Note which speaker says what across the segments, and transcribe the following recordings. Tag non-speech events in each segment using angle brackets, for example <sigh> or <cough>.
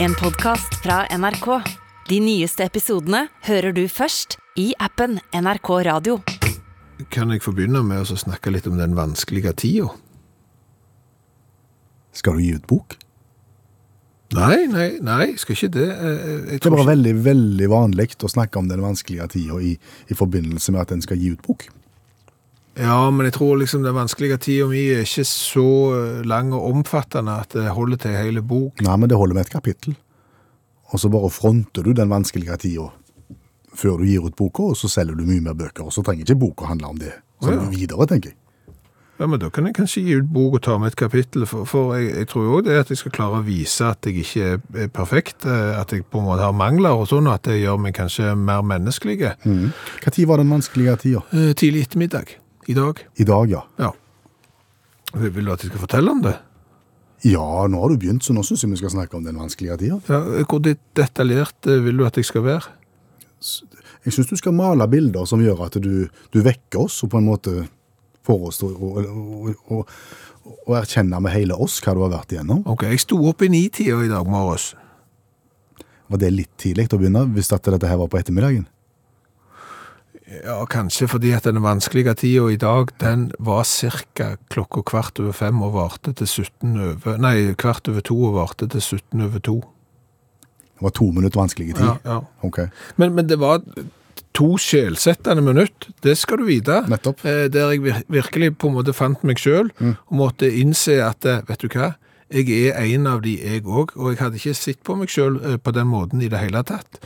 Speaker 1: En podcast fra NRK. De nyeste episodene hører du først i appen NRK Radio.
Speaker 2: Kan jeg få begynne med å snakke litt om den vanskelige tida?
Speaker 3: Skal du gi ut bok?
Speaker 2: Nei, nei, nei, skal ikke det. Eh, Jeg
Speaker 3: Det er
Speaker 2: tror
Speaker 3: bare
Speaker 2: ikke.
Speaker 3: veldig veldig vanlig å snakke om den vanskelige tida i, i forbindelse med at en skal gi ut bok.
Speaker 2: Ja, men jeg tror liksom den vanskelige tida mi er ikke så eh, lang og omfattende at det holder til hele bok.
Speaker 3: Nei, men det holder med et kapittel. Og så bare fronter du den vanskelige tida før du gir ut boka, og så selger du mye mer bøker. Og så trenger ikke boka handle om det. Så
Speaker 2: Å, ja.
Speaker 3: videre, tenker jeg.
Speaker 2: Ja, men da kan jeg kanskje gi ut bok og ta med et kapittel, for, for jeg, jeg tror jo også det at jeg skal klare å vise at jeg ikke er- er perfekt, eh, at jeg på en måte har mangler og sånn, og at det gjør meg kanskje mer menneskelige.
Speaker 3: Mm. Hva tid var den vanskelige tida?
Speaker 2: Eh, Tidlig ettermiddag, i dag,
Speaker 3: I dag, ja.
Speaker 2: ja. Vil du at jeg skal fortelle om det?
Speaker 3: Ja, nå har du begynt, så nå syns jeg vi skal snakke om den vanskelige tida.
Speaker 2: Ja, hvor det- detaljert eh, vil du at jeg skal være?
Speaker 3: Jeg syns du skal male bilder som gjør at du, du vekker oss, og på en måte får oss til å, å, å, å, å erkjenne med hele oss hva du har vært igjennom.
Speaker 2: Ok, jeg sto opp i nitida i dag morges.
Speaker 3: Var det litt tidlig å begynne, hvis at dette her var på ettermiddagen?
Speaker 2: Ja, kanskje fordi at den vanskelige tida i dag, den var cirka klokka kvart over fem og varte til 17 over Nei, kvart over to og varte til 17 over to.
Speaker 3: Det var to minutter vanskelig tid?
Speaker 2: Ja, ja.
Speaker 3: Ok.
Speaker 2: Men, men det var to skjelsettende minutt, det skal du vite.
Speaker 3: Nettopp.
Speaker 2: Eh, Der jeg vir- virkelig på en måte fant meg sjøl, og måtte innse at eh, vet du hva, jeg er en av de jeg òg, og jeg hadde ikke sett på meg sjøl på den måten i det hele tatt.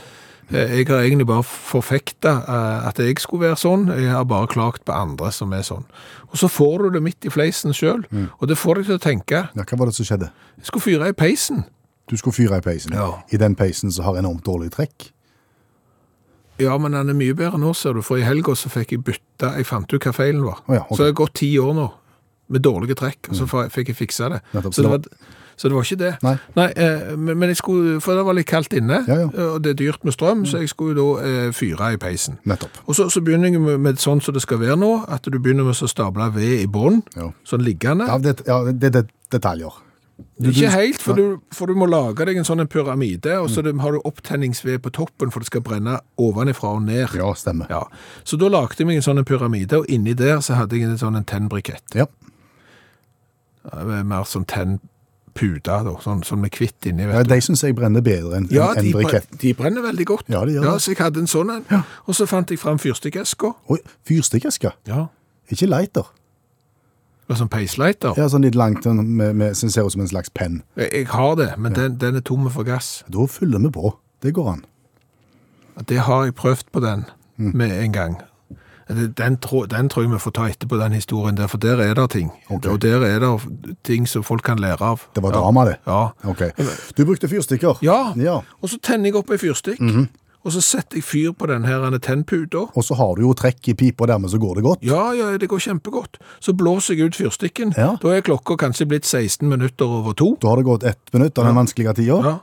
Speaker 2: Eh, Jeg har egentlig bare forfekta eh, at jeg skulle være sånn, jeg har bare klagt på andre som er sånn. Og så får du det midt i fleisen sjøl, og det får deg til å tenke.
Speaker 3: Ja, hva var det som skjedde?
Speaker 2: Jeg skulle fyre i peisen.
Speaker 3: Du skulle fyre i peisen.
Speaker 2: Ja.
Speaker 3: I den peisen som har enormt dårlig trekk.
Speaker 2: Ja, men den er mye bedre nå, ser du, for i helga så fikk jeg bytta Jeg fant ut hva feilen var.
Speaker 3: Å ja, ok.
Speaker 2: Så det har gått ti år nå med dårlige trekk, og så fa- fikk jeg fiksa det.
Speaker 3: Nettopp,
Speaker 2: Så
Speaker 3: så
Speaker 2: det, var, så det var ikke det.
Speaker 3: Nei.
Speaker 2: eh, men, men jeg skulle For det var litt kaldt inne,
Speaker 3: Ja, Mm. ja.
Speaker 2: eh, og det er dyrt med strøm, så jeg skulle jo da eh, fyre i peisen.
Speaker 3: Nettopp.
Speaker 2: Og så, så begynner jeg med, med sånn som det skal være nå, at du begynner med å stable ved i bånn,
Speaker 3: Ja.
Speaker 2: sånn liggende.
Speaker 3: Ja, det, ja, det, det detaljer. Du-
Speaker 2: Ikke
Speaker 3: du- Mm.
Speaker 2: helt, for du, for du må lage deg en sånn en pyramide, og så det- har du opptenningsved på toppen, for det skal brenne ovenifra og ned.
Speaker 3: Ja, stemmer.
Speaker 2: Ja, så da lagde jeg meg en sånn en pyramide, og inni der så hadde jeg en sånn en tennbrikett.
Speaker 3: Ja.
Speaker 2: Eh, Mer sånn tennpuda, da, sånn, sånn med kvitt inni,
Speaker 3: Ja,
Speaker 2: vet du.
Speaker 3: de syns jeg brenner bedre enn
Speaker 2: Ja,
Speaker 3: enn- enn
Speaker 2: de, bren-
Speaker 3: briketten.
Speaker 2: de brenner veldig godt.
Speaker 3: Ja, de gjør det.
Speaker 2: så jeg hadde en sånn en,
Speaker 3: Ja.
Speaker 2: og så fant jeg frem fyrstikkesker.
Speaker 3: Oi, fyrstikkeske?
Speaker 2: Ja.
Speaker 3: Ikke lighter.
Speaker 2: Og sånn peisleiter.
Speaker 3: Ja, sånn litt langt, sånn med, med, som ser ut som en slags penn.
Speaker 2: Jeg, jeg har det, men den, den er tomme for gass.
Speaker 3: Da fyller vi på. Det går an.
Speaker 2: Det har jeg prøvd på den
Speaker 3: Mm.
Speaker 2: med en gang. Det- Den, tror- den tror jeg vi får ta etterpå den historien der, for der er det ting.
Speaker 3: Ok.
Speaker 2: Og der er det ting som folk kan lære av.
Speaker 3: Det var drama, det.
Speaker 2: Ja.
Speaker 3: Ok. Du brukte fyrstikker.
Speaker 2: Ja.
Speaker 3: ja. Mhm.
Speaker 2: Og så tenner jeg opp ei fyrstikk, og så setter jeg fyr på den her tennputa.
Speaker 3: Og så har du jo trekk i pipa, og dermed så går det godt.
Speaker 2: Ja, ja, det går kjempegodt. Så blåser jeg ut fyrstikken.
Speaker 3: Ja.
Speaker 2: Da er klokka kanskje blitt 16 minutter over to.
Speaker 3: Da har det gått ett minutt av den vanskelige tida.
Speaker 2: Ja.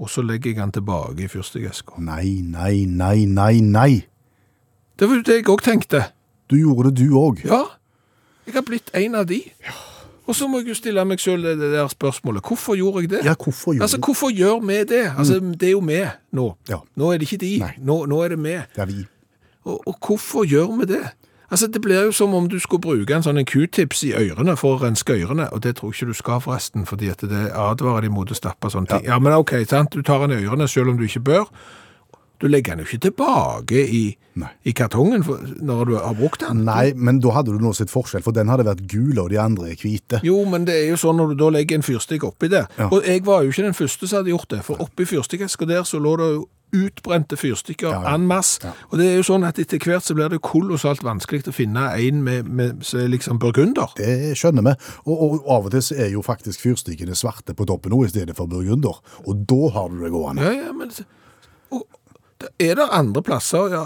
Speaker 2: Og så legger jeg den tilbake i fyrstikkeska.
Speaker 3: Nei, nei, nei, nei, nei.
Speaker 2: Det var jo det jeg òg tenkte.
Speaker 3: Du gjorde det, du òg.
Speaker 2: Ja, jeg har blitt en av de. Og så må jeg jo stille meg sjøl det det der spørsmålet. Hvorfor gjorde jeg det?
Speaker 3: Ja, hvorfor gjorde
Speaker 2: Altså,
Speaker 3: du det? Mm.
Speaker 2: hvorfor gjør vi det? Altså, Det er jo vi nå.
Speaker 3: Ja.
Speaker 2: Nå er det ikke de.
Speaker 3: Nei.
Speaker 2: Nå, nå er det vi.
Speaker 3: Det er vi.
Speaker 2: Og, og hvorfor gjør vi det? Altså, Det blir jo som om du skulle bruke en sånn en Q-tips i ørene for å renske ørene, og det tror jeg ikke du skal forresten, fordi at det advarer de mot å stappe sånne ting. Ja, men ok, sant? du tar den i ørene selv om du ikke bør. Du legger den jo ikke tilbake i,
Speaker 3: Nei.
Speaker 2: i kartongen for, når du har brukt den.
Speaker 3: Nei, men da hadde du nå sett forskjell, for den hadde vært gul, og de andre er hvite.
Speaker 2: Jo, men det er jo sånn når du da legger en fyrstikk oppi det.
Speaker 3: Ja.
Speaker 2: Og jeg var jo ikke den første som hadde gjort det, for oppi fyrstikkesken der så lå det jo utbrente fyrstikker
Speaker 3: Ja, ja.
Speaker 2: en masse.
Speaker 3: Ja.
Speaker 2: Og det er jo sånn at etter hvert så blir det jo kolossalt vanskelig å finne en med, med som er liksom burgunder.
Speaker 3: Det skjønner vi. Og, og av og til så er jo faktisk fyrstikkene svarte på toppen nå i stedet for burgunder, og da har du det gående.
Speaker 2: Ja, ja, men... Og, det- er det andre plasser ja,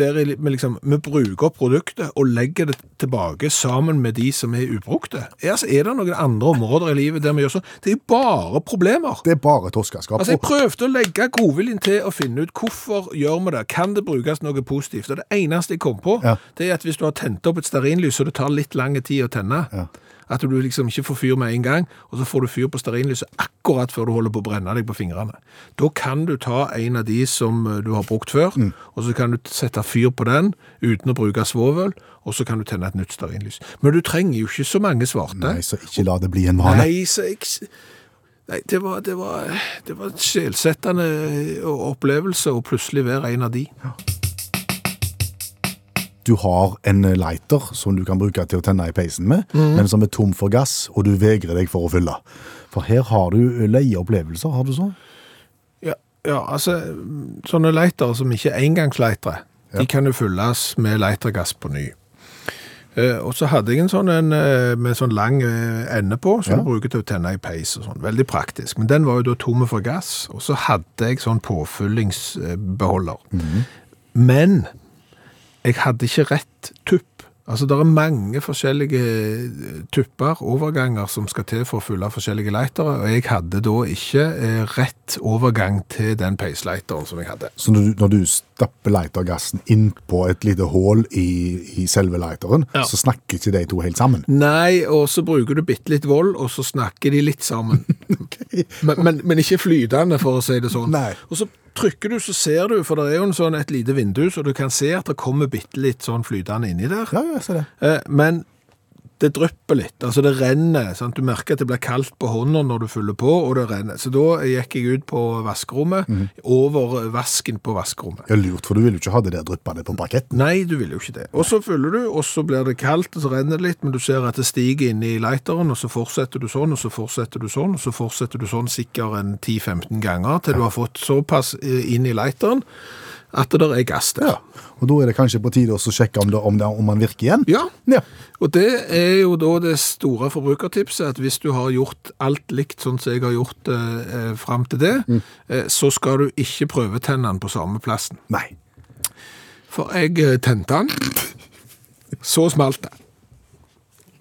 Speaker 2: der i li- vi liksom, vi bruker opp produktet og legger det tilbake sammen med de som er ubrukte? Er, altså, er det noen andre områder i livet der vi gjør sånn? Det er jo bare problemer.
Speaker 3: Det er bare torskeskap.
Speaker 2: Altså, Jeg
Speaker 3: Og-
Speaker 2: prøvde å legge godviljen til å finne ut hvorfor gjør vi det. Kan det brukes noe positivt? Og Det eneste jeg kom på,
Speaker 3: Ja.
Speaker 2: det er at hvis du har tent opp et stearinlys, og det tar litt lang tid å tenne, At du liksom ikke får fyr med en gang, og så får du fyr på stearinlyset akkurat før du holder på å brenne deg på fingrene. Da kan du ta en av de som eh, du har brukt før,
Speaker 3: Mm.
Speaker 2: og så kan du sette fyr på den uten å bruke svovel, og så kan du tenne et nytt stearinlys. Men du trenger jo ikke så mange svarte.
Speaker 3: Nei, så ikke la det bli en vane.
Speaker 2: Nei, så jeg... Nei, det var, det var, det var en sjelsettende eh, opplevelse å plutselig være en av de.
Speaker 3: Du har en eh, lighter som du kan bruke til å tenne i peisen med, men som er tom for gass, og du vegrer deg for å fylle. For her har du leie opplevelser, har du så?
Speaker 2: Ja, ja altså, sånne leitere som ikke er engangsleitere, de kan jo fylles med leitergass på ny. Eh, og så hadde jeg en sånn en, eh, med sånn lang eh, ende på, som
Speaker 3: Ja.
Speaker 2: du bruker til å tenne i peis og sånn. Veldig praktisk. Men den var jo da tomme for gass, og så hadde jeg sånn påfyllingsbeholder. Men jeg hadde ikke rett tupp. Altså, det er mange forskjellige eh, tupper, overganger, som skal til for å fylle forskjellige leitere, og jeg hadde da ikke eh, rett overgang til den peisleiteren som jeg hadde.
Speaker 3: Så når du, når du stapper lightergassen inn på et lite hål i, i selve lighteren,
Speaker 2: Ja.
Speaker 3: så snakker ikke de to helt sammen.
Speaker 2: Nei, og så bruker du bitte litt vold, og så snakker de litt sammen. men, men, men ikke flytende, for å si det sånn.
Speaker 3: Nei.
Speaker 2: Og så trykker du, så ser du, for det er jo en sånn et lite vindu, så du kan se at det kommer bitte litt sånn flytende inni der.
Speaker 3: Ja, ja, se det.
Speaker 2: Eh, Men det drypper litt, altså det renner. Sant? Du merker at det blir kaldt på hånda når du fyller på, og det renner. Så da gikk jeg ut på vaskerommet, over vasken på vaskerommet.
Speaker 3: Ja, lurt, for du vil jo ikke ha det der dryppende på parketten.
Speaker 2: Nei, du vil jo ikke det. Og så fyller du, og så blir det kaldt, og så renner det litt, men du ser at det stiger inn i lighteren, og så fortsetter du sånn, og så fortsetter du sånn, og så fortsetter du sånn sikkert en 10-15 ganger, til du har fått såpass eh, inn i lighteren at det der er gass der.
Speaker 3: Og da er det kanskje på tide også å sjekke om, det, om, det, om man virker igjen.
Speaker 2: Ja.
Speaker 3: Ja.
Speaker 2: Og det er jo da det store forbrukertipset, at hvis du har gjort alt likt sånn som jeg har gjort eh, fram til det, eh, så skal du ikke prøve tennene på samme plassen.
Speaker 3: Nei.
Speaker 2: For jeg eh, tente den, så smalt det.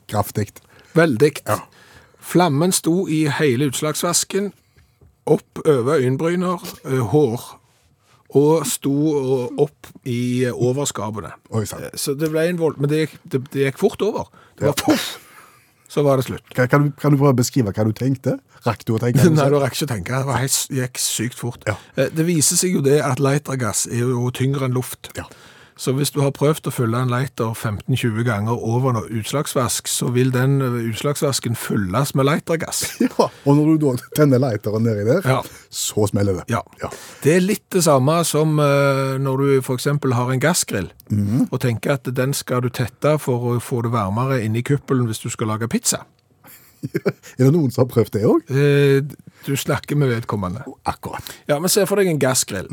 Speaker 3: Kraftig.
Speaker 2: Veldig. Flammen sto i hele utslagsvasken, opp over øynbryner, eh, hår, og sto eh, opp i eh, overskapene.
Speaker 3: Oi sann.
Speaker 2: Eh, Så det ble en vold... Men det gikk, det, det gikk fort over. Det var poff, så var det slutt.
Speaker 3: Kan, kan, du- kan du prøve å beskrive hva du tenkte? Rakk du
Speaker 2: <laughs>
Speaker 3: å tenke?
Speaker 2: Nei, du rekker ikke å tenke. Det var helt, gikk sykt fort.
Speaker 3: Ja.
Speaker 2: Eh, Det viser seg jo det at leitergass er jo tyngre enn luft.
Speaker 3: Ja.
Speaker 2: Så hvis du har prøvd å fylle en leiter 15-20 ganger over noe utslagsvask, så vil den eh, utslagsvasken fylles med leitergass.
Speaker 3: <laughs> Ja, og når du da tenner lighteren nedi der,
Speaker 2: Ja.
Speaker 3: så smeller det.
Speaker 2: Ja. Det er litt det samme som eh, når du for eksempel har en gassgrill,
Speaker 3: Mhm.
Speaker 2: og tenker at den skal du tette for å få det varmere inni kuppelen hvis du skal lage pizza.
Speaker 3: Er det noen som har prøvd det òg?
Speaker 2: Eh, Du snakker med vedkommende.
Speaker 3: Akkurat.
Speaker 2: Ja, men se for deg en gassgrill.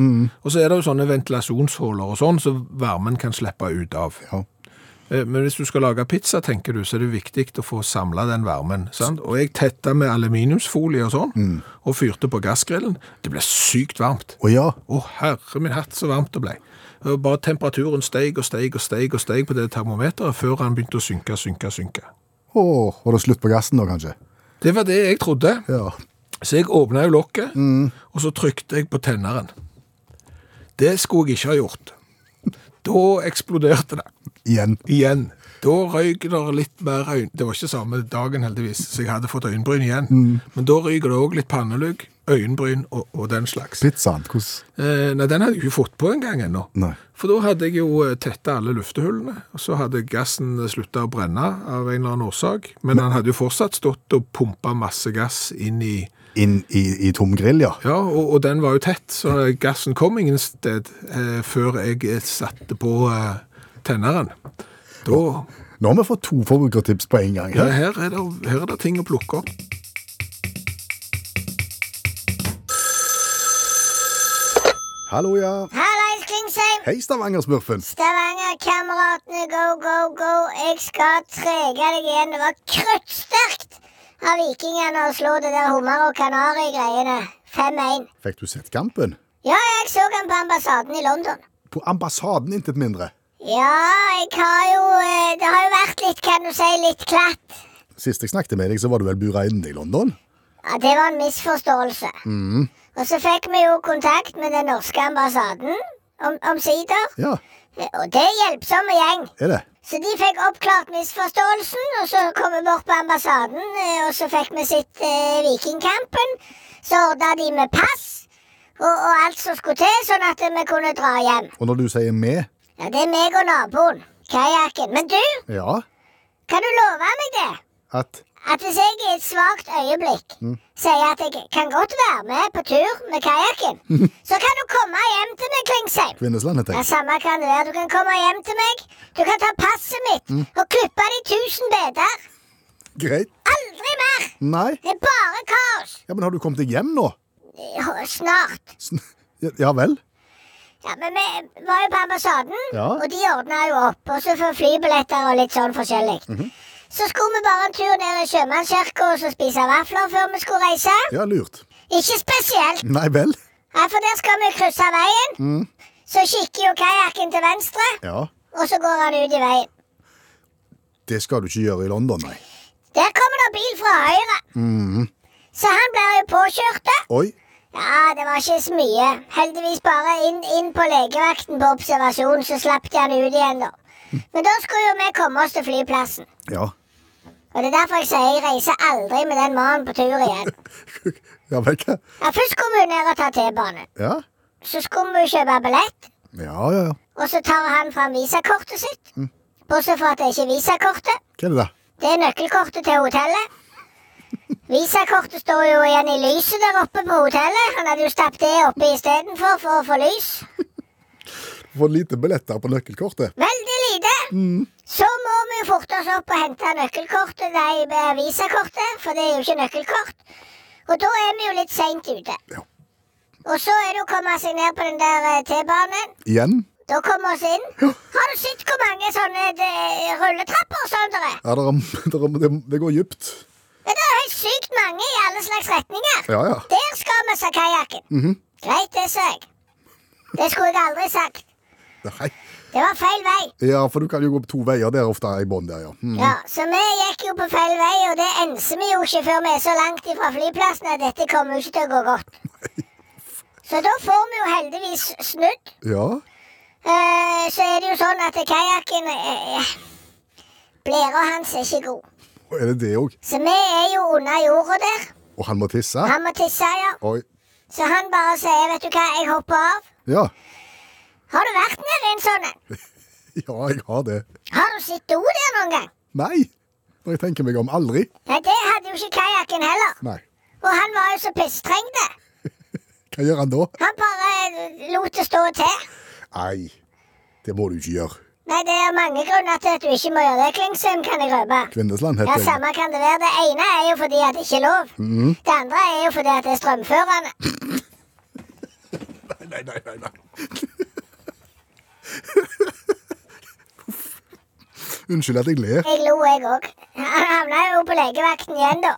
Speaker 2: Og så er det jo sånne ventilasjonshåler og sånn, så varmen kan slippe ut av.
Speaker 3: Ja.
Speaker 2: Eh, Men hvis du skal lage pizza, tenker du, så er det viktig å få samla den varmen. sant? Og jeg tetta med aluminiumsfolie og sånn, og fyrte på gassgrillen. Det ble sykt varmt.
Speaker 3: Og ja,
Speaker 2: Å, herre min hatt, så varmt det ble. Og Bare temperaturen steg og steg og steg og steg på det termometeret før han begynte å synke, synke, synke.
Speaker 3: Åh, var det slutt på gassen da, kanskje?
Speaker 2: Det var det jeg trodde.
Speaker 3: Ja.
Speaker 2: Så jeg åpna jo lokket, og så trykte jeg på tenneren. Det skulle jeg ikke ha gjort. Da eksploderte det.
Speaker 3: Igjen.
Speaker 2: Igjen. Da røyk det litt mer øyn... Det var ikke samme dagen, heldigvis, så jeg hadde fått øyenbryn igjen. Men da røyker det òg litt pannelugg, øyenbryn og, og den slags.
Speaker 3: Pizzaen, hvordan
Speaker 2: Eh, nei, den hadde jeg ikke fått på engang ennå.
Speaker 3: Nei.
Speaker 2: For da hadde jeg jo tetta alle luftehullene, og så hadde gassen slutta å brenne av en eller annen årsak. Men han hadde jo fortsatt stått og pumpa masse gass inn i
Speaker 3: Inn i, i tom grill, ja.
Speaker 2: ja, og, og den var jo tett, så gassen kom ingen sted eh, før jeg satte på eh, tenneren. Da,
Speaker 3: Nå har vi fått to forbrukertips på en gang.
Speaker 2: ja,
Speaker 3: her.
Speaker 2: her, er det, her er det ting å plukke opp.
Speaker 3: Hallo, ja.
Speaker 4: Hallais, Klingsheim!
Speaker 3: Hei, Stavanger-smurfen.
Speaker 4: Stavanger-kameratene, go, go, go! Jeg skal trege deg igjen. Det var krøttsterkt av vikingene å slå det der hummer- og kanari-greiene. 5-1.
Speaker 3: Fikk du sett kampen?
Speaker 4: Ja, jeg så han på ambassaden i London.
Speaker 3: På ambassaden, intet mindre.
Speaker 4: Ja, jeg har jo eh, Det har jo vært litt, kan du si, litt klatt.
Speaker 3: Sist jeg snakket med deg, så var du vel bura inne i London?
Speaker 4: Ja, Det var en misforståelse. Og så fikk vi jo kontakt med den norske ambassaden om- omsider.
Speaker 3: Ja,
Speaker 4: Og det er hjelpsomme gjeng.
Speaker 3: er det?
Speaker 4: Så de fikk oppklart misforståelsen, og så kom vi bort på ambassaden, eh, og så fikk vi sett eh, Vikingkampen. Så ordna de med pass og, og alt som skulle til, sånn at vi kunne dra hjem.
Speaker 3: Og når du sier vi
Speaker 4: Ja, Det er meg og naboen. Kajakken. Men du,
Speaker 3: Ja.
Speaker 4: kan du love meg det?
Speaker 3: At
Speaker 4: At hvis jeg i et svakt øyeblikk sier at jeg kan godt være med på tur med kajakken, så kan du komme hjem til meg, Klingsheim.
Speaker 3: Kvinneslandet,
Speaker 4: Ja,
Speaker 3: jeg.
Speaker 4: samme kan det være. Du kan komme hjem til meg. Du kan ta passet mitt og klippe det i tusen biter.
Speaker 3: Greit.
Speaker 4: Aldri mer!
Speaker 3: Nei.
Speaker 4: Det er bare kaos.
Speaker 3: Ja, Men har du kommet deg hjem nå?
Speaker 4: Ja, Snart.
Speaker 3: Sn- Ja- Ja vel?
Speaker 4: Ja, Men vi var jo på ambassaden,
Speaker 3: Ja.
Speaker 4: og de ordna jo opp. Og så for flybilletter og litt sånn forskjellig. Så skulle vi bare en tur ned i sjømannskirka og så spise vafler før vi skulle reise.
Speaker 3: Ja, lurt.
Speaker 4: Ikke spesielt.
Speaker 3: Nei vel?
Speaker 4: Ja, for der skal vi krysse veien. Så kikker jo kajakken til venstre,
Speaker 3: Ja.
Speaker 4: og så går han ut i veien.
Speaker 3: Det skal du ikke gjøre i London, nei.
Speaker 4: Der kommer det bil fra høyre. Så han blir jo påkjørt. da.
Speaker 3: Oi.
Speaker 4: Ja, det var ikke så mye. Heldigvis bare inn, inn på legevakten på observasjon, så slapp de han ut igjen, da. Men da skulle jo vi komme oss til flyplassen.
Speaker 3: Ja.
Speaker 4: Og det er derfor jeg sier jeg reiser aldri med den mannen på tur igjen.
Speaker 3: Ja vel, hva?
Speaker 4: Ja, Først skulle vi jo ned og ta T-banen.
Speaker 3: Ja.
Speaker 4: Så skulle vi jo kjøpe billett,
Speaker 3: Ja, ja, ja.
Speaker 4: og så tar han fram visakortet sitt. Bortsett fra at det ikke er visakortet.
Speaker 3: Hva er det da?
Speaker 4: Det er nøkkelkortet til hotellet. Visakortet står jo igjen i lyset der oppe på hotellet. Han hadde jo stappet det oppe istedenfor for å få lys.
Speaker 3: For lite billetter på nøkkelkortet.
Speaker 4: Veldig lite.
Speaker 3: Mm.
Speaker 4: Så må vi jo forte oss opp og hente nøkkelkortet, nei, eh, visakortet, for det er jo ikke nøkkelkort. Og da er vi jo litt seint ute.
Speaker 3: Ja.
Speaker 4: Og så er det å komme seg ned på den der eh, T-banen.
Speaker 3: Igjen?
Speaker 4: Da kommer vi oss inn. Har du sett hvor mange sånne eh, rulletrapper som det er?
Speaker 3: Ja, det, er, <laughs> det, er, det går dypt.
Speaker 4: Det er jo helt sykt mange i alle slags retninger.
Speaker 3: Ja, Mhm. ja.
Speaker 4: Der skal vi, sa kajakken. Greit, det sa jeg. Det skulle jeg aldri sagt.
Speaker 3: Nei.
Speaker 4: Det var feil vei.
Speaker 3: Ja, for du kan jo gå to veier der ofte i bånn der, ja. Mm.
Speaker 4: Ja, Så vi gikk jo på feil vei, og det enser vi jo ikke før vi er så langt ifra flyplassen at dette kommer jo ikke til å gå godt. Så da får vi jo heldigvis snudd.
Speaker 3: Ja.
Speaker 4: Eh, så er det jo sånn at kajakken eh, Blæra hans er ikke god.
Speaker 3: Og er det det òg?
Speaker 4: Så vi er jo under jorda der.
Speaker 3: Og han må tisse?
Speaker 4: Han må tisse, ja.
Speaker 3: Oi.
Speaker 4: Så han bare sier, vet du hva, jeg hopper av.
Speaker 3: Ja. <laughs>
Speaker 4: Har du vært nede i en sånn en?
Speaker 3: Ja, jeg har det.
Speaker 4: Har du sett do der noen gang?
Speaker 3: Nei. Når jeg tenker meg om aldri.
Speaker 4: Nei, det hadde jo ikke kajakken heller.
Speaker 3: Nei.
Speaker 4: Og han var jo så pisstrengte.
Speaker 3: Hva gjør han da?
Speaker 4: Han bare eh, lot det stå til.
Speaker 3: Nei. Det må du ikke gjøre.
Speaker 4: Nei, det er mange grunner til at du ikke må gjøre det, Klingsheim, kan jeg røpe.
Speaker 3: Kvinnesland
Speaker 4: Ja,
Speaker 3: heter jeg.
Speaker 4: samme kan det være. Det ene er jo fordi at det ikke er lov. Det andre er jo fordi at det er strømførende.
Speaker 3: Nei, nei, nei, nei. Uff. Unnskyld at jeg ler.
Speaker 4: Jeg lo, jeg òg. Han havna jo på legevakten igjen, da.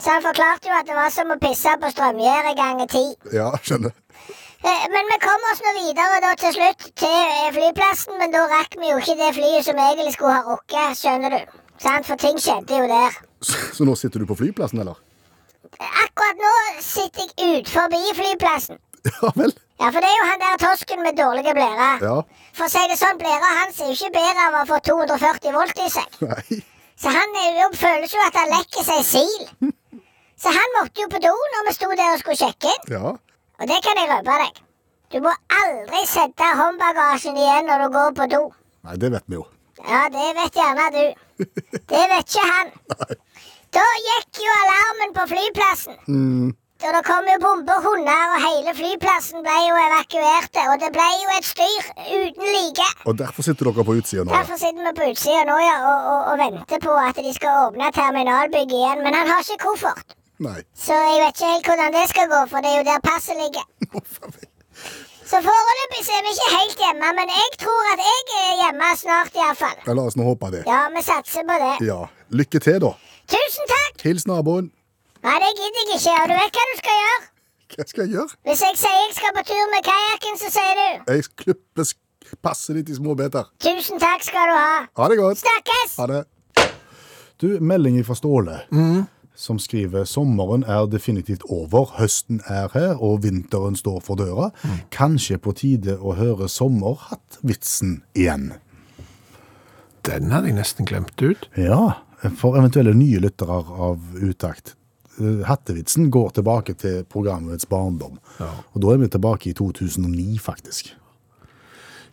Speaker 4: Så han forklarte jo at det var som å pisse på strømgjerdet ganger ti.
Speaker 3: Ja, skjønner.
Speaker 4: Eh, Men vi kom oss nå videre da til slutt til eh, flyplassen, men da rakk vi jo ikke det flyet som egentlig skulle ha rukket, skjønner du. Sant? For ting skjedde jo der.
Speaker 3: Så, så nå sitter du på flyplassen, eller?
Speaker 4: Eh, Akkurat nå sitter jeg ut forbi flyplassen.
Speaker 3: Ja vel.
Speaker 4: Ja, for det er jo han der tosken med dårlige blærer.
Speaker 3: Ja.
Speaker 4: For å si det sånn, blæra hans er jo ikke bedre av å få 240 volt i seg.
Speaker 3: Nei.
Speaker 4: Så han er jo, føles jo at han lekker seg sil. Så han måtte jo på do når vi sto der og skulle sjekke inn.
Speaker 3: Ja.
Speaker 4: Og det kan jeg røpe deg. Du må aldri sette håndbagasjen igjen når du går på do.
Speaker 3: Nei, det vet vi jo.
Speaker 4: Ja, det vet gjerne du. Det vet ikke han. Da gikk jo alarmen på flyplassen. Da det kom jo bombehunder, og hele flyplassen ble jo evakuerte. Og det ble jo et styr uten like.
Speaker 3: Og derfor sitter dere på utsida nå. Ja.
Speaker 4: Derfor sitter vi på utsida nå ja, og, og, og venter på at de skal åpne terminalbygget igjen. Men han har ikke koffert,
Speaker 3: Nei.
Speaker 4: så jeg vet ikke helt hvordan det skal gå, for det er jo der passet ligger.
Speaker 3: Å, farvel.
Speaker 4: Så foreløpig så er vi ikke helt hjemme, men jeg tror at jeg er hjemme snart iallfall.
Speaker 3: Ja, la oss nå håpe det.
Speaker 4: Ja, vi satser på det.
Speaker 3: Ja. Lykke til, da.
Speaker 4: Tusen takk!
Speaker 3: Hils naboen.
Speaker 4: Nei, det gidder jeg ikke. Og du vet hva du skal gjøre.
Speaker 3: Hva skal jeg gjøre?
Speaker 4: Hvis jeg sier jeg skal på tur med kajakken, så sier du
Speaker 3: Jeg klipper sk- passet ditt i små biter.
Speaker 4: tusen takk skal du ha.
Speaker 3: Ha det godt.
Speaker 4: Snakkes!
Speaker 3: Ha det. Du, melding fra Ståle, som skriver sommeren er definitivt over, høsten er her, og vinteren står for døra. Kanskje på tide å høre sommerhattvitsen igjen.
Speaker 2: Den hadde jeg nesten glemt ut.
Speaker 3: Ja, for eventuelle nye lyttere av Utakt. eh, Hattevitsen går tilbake til programmets barndom. Og da er vi tilbake i 2009, faktisk.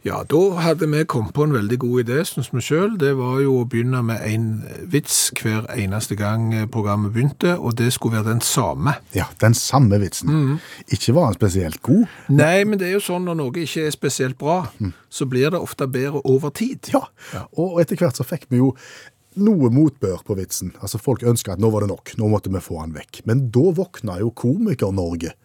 Speaker 2: Ja, da hadde vi kommet på en veldig god idé, synes vi selv. Det var jo å begynne med en vits hver eneste gang programmet begynte, og det skulle være den samme.
Speaker 3: Ja, den samme vitsen. Ikke var han spesielt god.
Speaker 2: Nei, men det er jo sånn når noe ikke er spesielt bra, så blir det ofte bedre over tid.
Speaker 3: Ja, og etter hvert så fikk vi jo noe motbør på vitsen. Altså Folk ønska at nå var det nok, nå måtte vi få han vekk. Men da våkna jo Komiker-Norge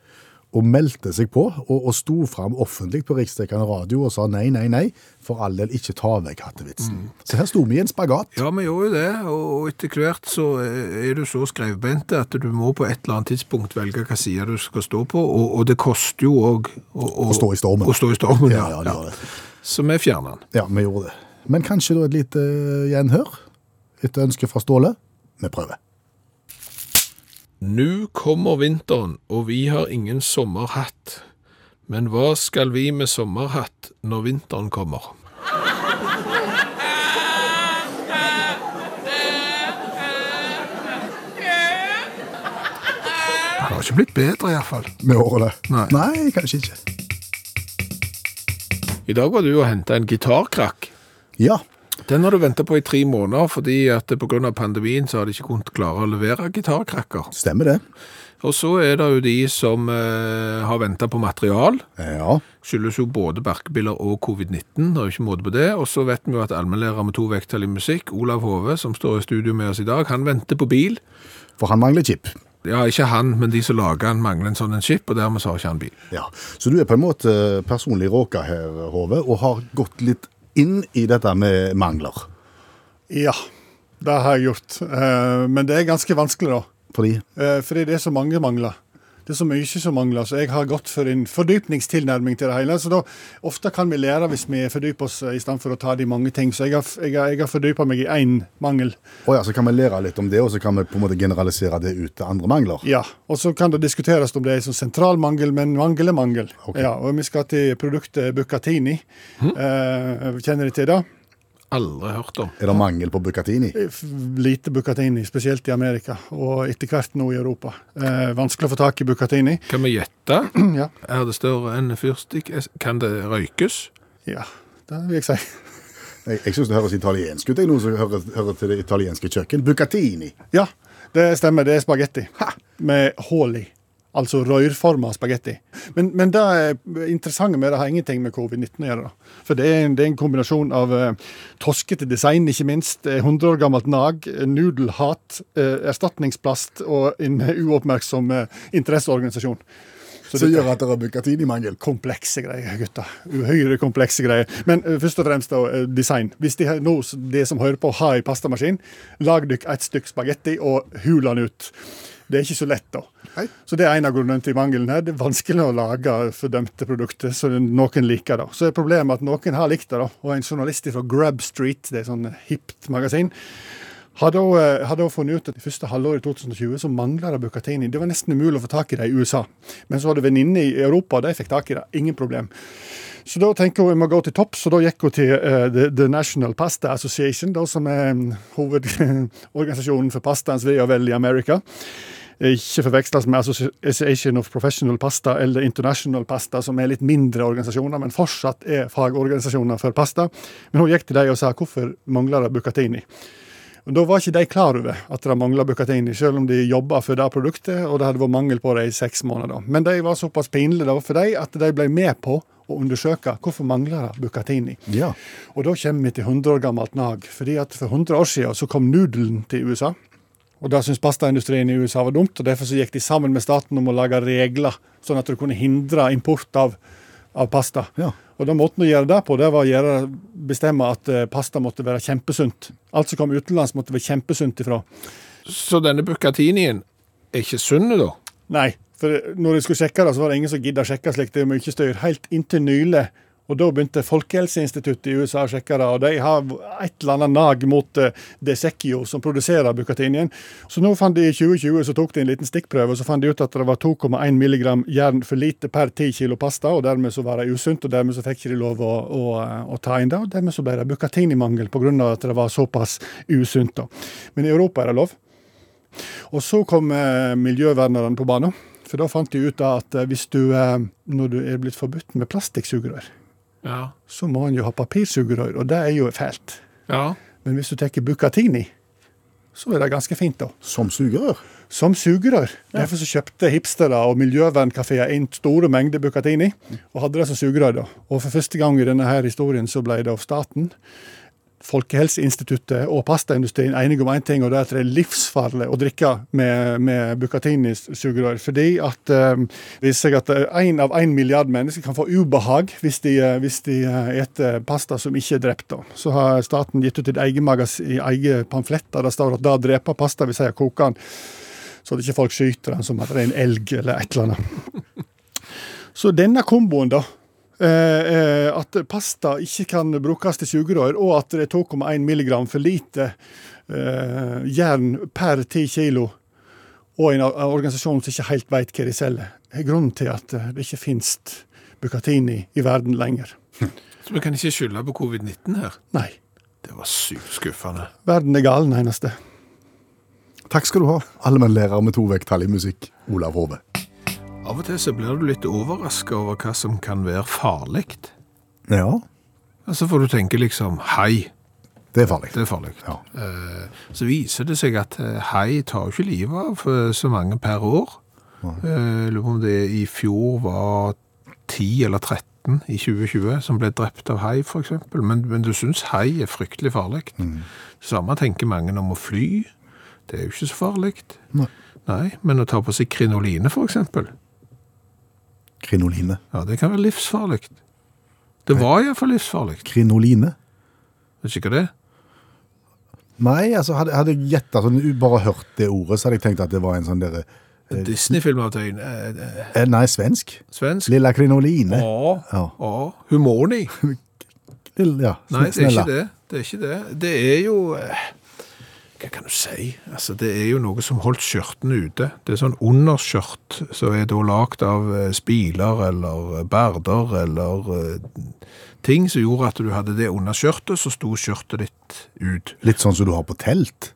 Speaker 3: og meldte seg på og, og sto fram offentlig på riksdekkende radio og sa nei, nei, nei, for all del ikke ta vekk hattevitsen. Så her sto vi i en spagat.
Speaker 2: Mm. Ja, vi gjorde jo det, og og etter hvert så er du så skrevbente at du må på et eller annet tidspunkt velge hva side du skal stå på, og, og det koster jo òg
Speaker 3: Å stå i stormen.
Speaker 2: Å stå i stormen,
Speaker 3: Ja,
Speaker 2: ja.
Speaker 3: ja, det gjør det.
Speaker 2: Så vi fjerner den.
Speaker 3: Ja, vi gjorde det. Men kanskje da et lite eh, gjenhør? Et ønske fra Ståle? Vi prøver.
Speaker 2: Nu kommer vinteren, og vi har ingen sommerhatt. Men hva skal vi med sommerhatt når vinteren kommer? Det har ikke blitt bedre, iallfall.
Speaker 3: Med årene.
Speaker 2: Nei.
Speaker 3: Nei, kanskje ikke.
Speaker 2: I dag var du og henta en gitarkrakk.
Speaker 3: Ja.
Speaker 2: Den har du venta på i tre måneder, fordi at pga. pandemien så har de ikke kunnet klare å levere gitarkrakker.
Speaker 3: Stemmer det.
Speaker 2: Og så er det jo de som eh, har venta på material.
Speaker 3: Ja.
Speaker 2: skyldes jo både barkbiller og covid-19, det er jo ikke måte på det. Og så vet vi jo at allmennlærer med to vekttall i musikk, Olav Hove, som står i studio med oss i dag, han venter på bil.
Speaker 3: For han mangler chip.
Speaker 2: Ja, ikke han, men de som lager han mangler en sånn en chip, og dermed så har ikke han bil.
Speaker 3: Ja, Så du er på en måte personlig råka her, Hove, og har gått litt inn i dette med mangler.
Speaker 5: Ja, det har jeg gjort. Eh, Men det er ganske vanskelig, da.
Speaker 3: Fordi
Speaker 5: Eh, Fordi det er så mange mangler. Det er så mye som mangler, så jeg har gått for en fordypningstilnærming til det hele. Så da, ofte kan vi lære hvis vi fordyper oss eh, i stedet for å ta de mange ting. Så jeg har, jeg har, jeg har fordypa meg i én mangel.
Speaker 3: Å ja, så kan vi lære litt om det, og så kan vi på en måte generalisere det ut til andre mangler.
Speaker 5: Ja, Og så kan det diskuteres om det er en sånn sentral mangel, men mangel er mangel.
Speaker 3: Ok.
Speaker 5: Ja, og vi skal til produktet Bucatini. Eh, kjenner de til det?
Speaker 2: Aldri hørt om.
Speaker 3: Er det mangel på bucatini?
Speaker 5: F- Lite Bucatini, spesielt i Amerika, og etter hvert nå i Europa. Eh, vanskelig å få tak i Bucatini.
Speaker 2: Kan vi gjette?
Speaker 5: Ja.
Speaker 2: Er det større enn fyrstikk? Kan det røykes?
Speaker 5: ja, det vil jeg si. <laughs>
Speaker 3: Jeg, jeg syns det høres italiensk ut. Det er noe som hører, hører til det italienske kjøkken. Bucatini.
Speaker 5: Ja, det stemmer. Det er spagetti. Med hull i. Altså rørforma spagetti. Men, men det er interessante med det har ingenting med covid-19 å gjøre. da. For det er en, det er en kombinasjon av eh, toskete design, ikke minst, eh, 100 år gammelt nag, eh, nudelhat, eh, erstatningsplast og en uoppmerksom eh, interesseorganisasjon. Så
Speaker 3: Som
Speaker 5: dette-
Speaker 3: gjør at det er bucatini-mangel.
Speaker 5: komplekse greier, gutter. Uhyre komplekse greier. Men eh, først og fremst da, eh, design. Hvis de, har- nå, s- de som hører på, har en pastamaskin, lag dere et stykk spagetti og hul den ut. Det er ikke så lett, da.
Speaker 3: Nei.
Speaker 5: Så det er en av grunnene til mangelen her. Det er vanskelig å lage fordømte produkter så det- noen liker det. Så er problemet at noen har likt det, da. Og en journalist fra Grub Street, det er sånn eh, hipt magasin, har da, eh, har da funnet ut at i første halvår i 2020 så mangla det Bucatini. Det var nesten umulig å få tak i det i USA. Men så var det venninner i Europa, og de fikk tak i det. Ingen problem. Så da tenker hun jeg må gå til topps, så da gikk hun til eh, The, The National Pasta Association, da, som er mm, hovedorganisasjonen for pastaens ve og vel i America. Ikke forveksles med Association of Professional Pasta eller International Pasta, som er litt mindre organisasjoner, men fortsatt er fagorganisasjoner for pasta. Men hun gikk til dem og sa hvorfor mangler det Bucatini? Og Da var ikke de klar over at det mangla Bucatini, selv om de jobba for det produktet, og det hadde vært mangel på det i seks måneder. Men de var såpass pinlige da for dem at de ble med på å undersøke hvorfor mangler det Bucatini.
Speaker 3: Ja.
Speaker 5: Og da kommer vi til 100 år gammelt nag. fordi at For 100 år siden så kom nudelen til USA. Og da syntes pastaindustrien i USA var dumt, og derfor så gikk de sammen med staten om å lage regler, sånn at du kunne hindre import av, av pasta.
Speaker 3: Ja.
Speaker 5: Og da måten å gjøre det på, det var å gjøre, bestemme at eh, pasta måtte være kjempesunt. Alt som kom utenlands, måtte være kjempesunt ifra.
Speaker 2: Så denne bucatinien er ikke sunn, da?
Speaker 5: Nei, for når jeg skulle sjekke det, så var det ingen som gidda å sjekke slik. Det er mye styr. Helt inntil nylig. Og Da begynte Folkehelseinstituttet i USA å sjekke det, og de har et eller annet nag mot eh, Desecchio, som produserer bukatinien. Så nå fant de i 2020 så tok de en liten stikkprøve, og så fant de ut at det var 2,1 mg jern for lite per 10 kg pasta, og dermed så var det usunt, og dermed så fikk de ikke lov å, å, å ta inn det. Og dermed så ble det bukatinimangel pga. at det var såpass usunt. da. Men i Europa er det lov. Og så kom eh, miljøvernerne på banen. For da fant de ut da at eh, hvis du, eh, når du er blitt forbudt med plastikksugerør,
Speaker 2: Ja.
Speaker 5: så må en jo ha papirsugerør, og det er jo fælt.
Speaker 2: ja.
Speaker 5: Men hvis du tar Bucatini, så er det ganske fint, da.
Speaker 3: Som sugerør.
Speaker 5: Som sugerør. Derfor så kjøpte hipstere og miljøvernkafeer inn store mengder Bucatini, og hadde det som sugerør, da. Og for første gang i denne her historien så ble det av staten. Folkehelseinstituttet og pastaindustrien enige om én ting, og det er at det er livsfarlig å drikke med, med Bucatini-sugerør. Fordi at eh, det viser seg at én av én milliard mennesker kan få ubehag hvis de, eh, hvis de eh, eter pasta som ikke er drept. Da. Så har staten gitt ut et eget, magas- i eget pamflett der det står at det å drepe pasta vil si å koke den, så at ikke folk skyter den som at det er en elg eller et eller annet. Så denne komboen, da. Eh, eh, at pasta ikke kan brukes til sugerør, og at det er 2,1 milligram for lite eh, jern per 10 kilo, og en or- organisasjon som ikke helt vet hva de selger, er grunnen til at eh, det ikke finnes Bucatini i verden lenger.
Speaker 2: Så vi kan ikke skylde på covid-19 her.
Speaker 5: Nei.
Speaker 2: Det var sykt skuffende.
Speaker 5: Verden er galen, eneste.
Speaker 3: Takk skal du ha, allmennlærer med to vekttall i musikk, Olav Hove.
Speaker 2: Av og til så blir du litt overraska over hva som kan være farlig.
Speaker 3: Ja,
Speaker 2: Så får du tenke liksom Hei,
Speaker 3: det er farlig.
Speaker 2: det er farlig.
Speaker 3: Ja.
Speaker 2: Eh, Så viser det seg at eh, hei tar jo ikke livet av eh, så mange per år. Eh, Lurer på om det i fjor var 10 eller 13 i 2020 som ble drept av hei, f.eks. Men, men du syns hei er fryktelig farlig. Samme tenker mange om å fly. Det er jo ikke så farlig.
Speaker 3: Nei.
Speaker 2: Nei, men å ta på seg krinoline, f.eks.,
Speaker 3: Krinoline.
Speaker 2: ja, det kan være livsfarlig. Det var iallfall livsfarlig.
Speaker 3: Krinoline?
Speaker 2: Vet ikke hva det er.
Speaker 3: Nei, altså hadde, hadde jeg gjetta sånn, u- bare hørt det ordet, så hadde jeg tenkt at det var en sånn derre
Speaker 2: Disney-film av tøyen. eh, eh,
Speaker 3: eh, Nei, svensk.
Speaker 2: Svensk.
Speaker 3: Lilla krinoline.
Speaker 2: Ja.
Speaker 3: Ja.
Speaker 2: ja. Humorny.
Speaker 3: Lill- Ja, sn-
Speaker 2: Nei, det er
Speaker 3: snella.
Speaker 2: ikke det. Det er ikke det. Det er jo eh, Hva kan du si? Altså, det er jo noe som holdt skjørtene ute. Det er sånn underskjørt som er da lagd av eh, spiler eller eh, berder eller eh, ting som gjorde at du hadde det under skjørtet, så sto skjørtet ditt ut.
Speaker 3: Litt sånn som du har på telt.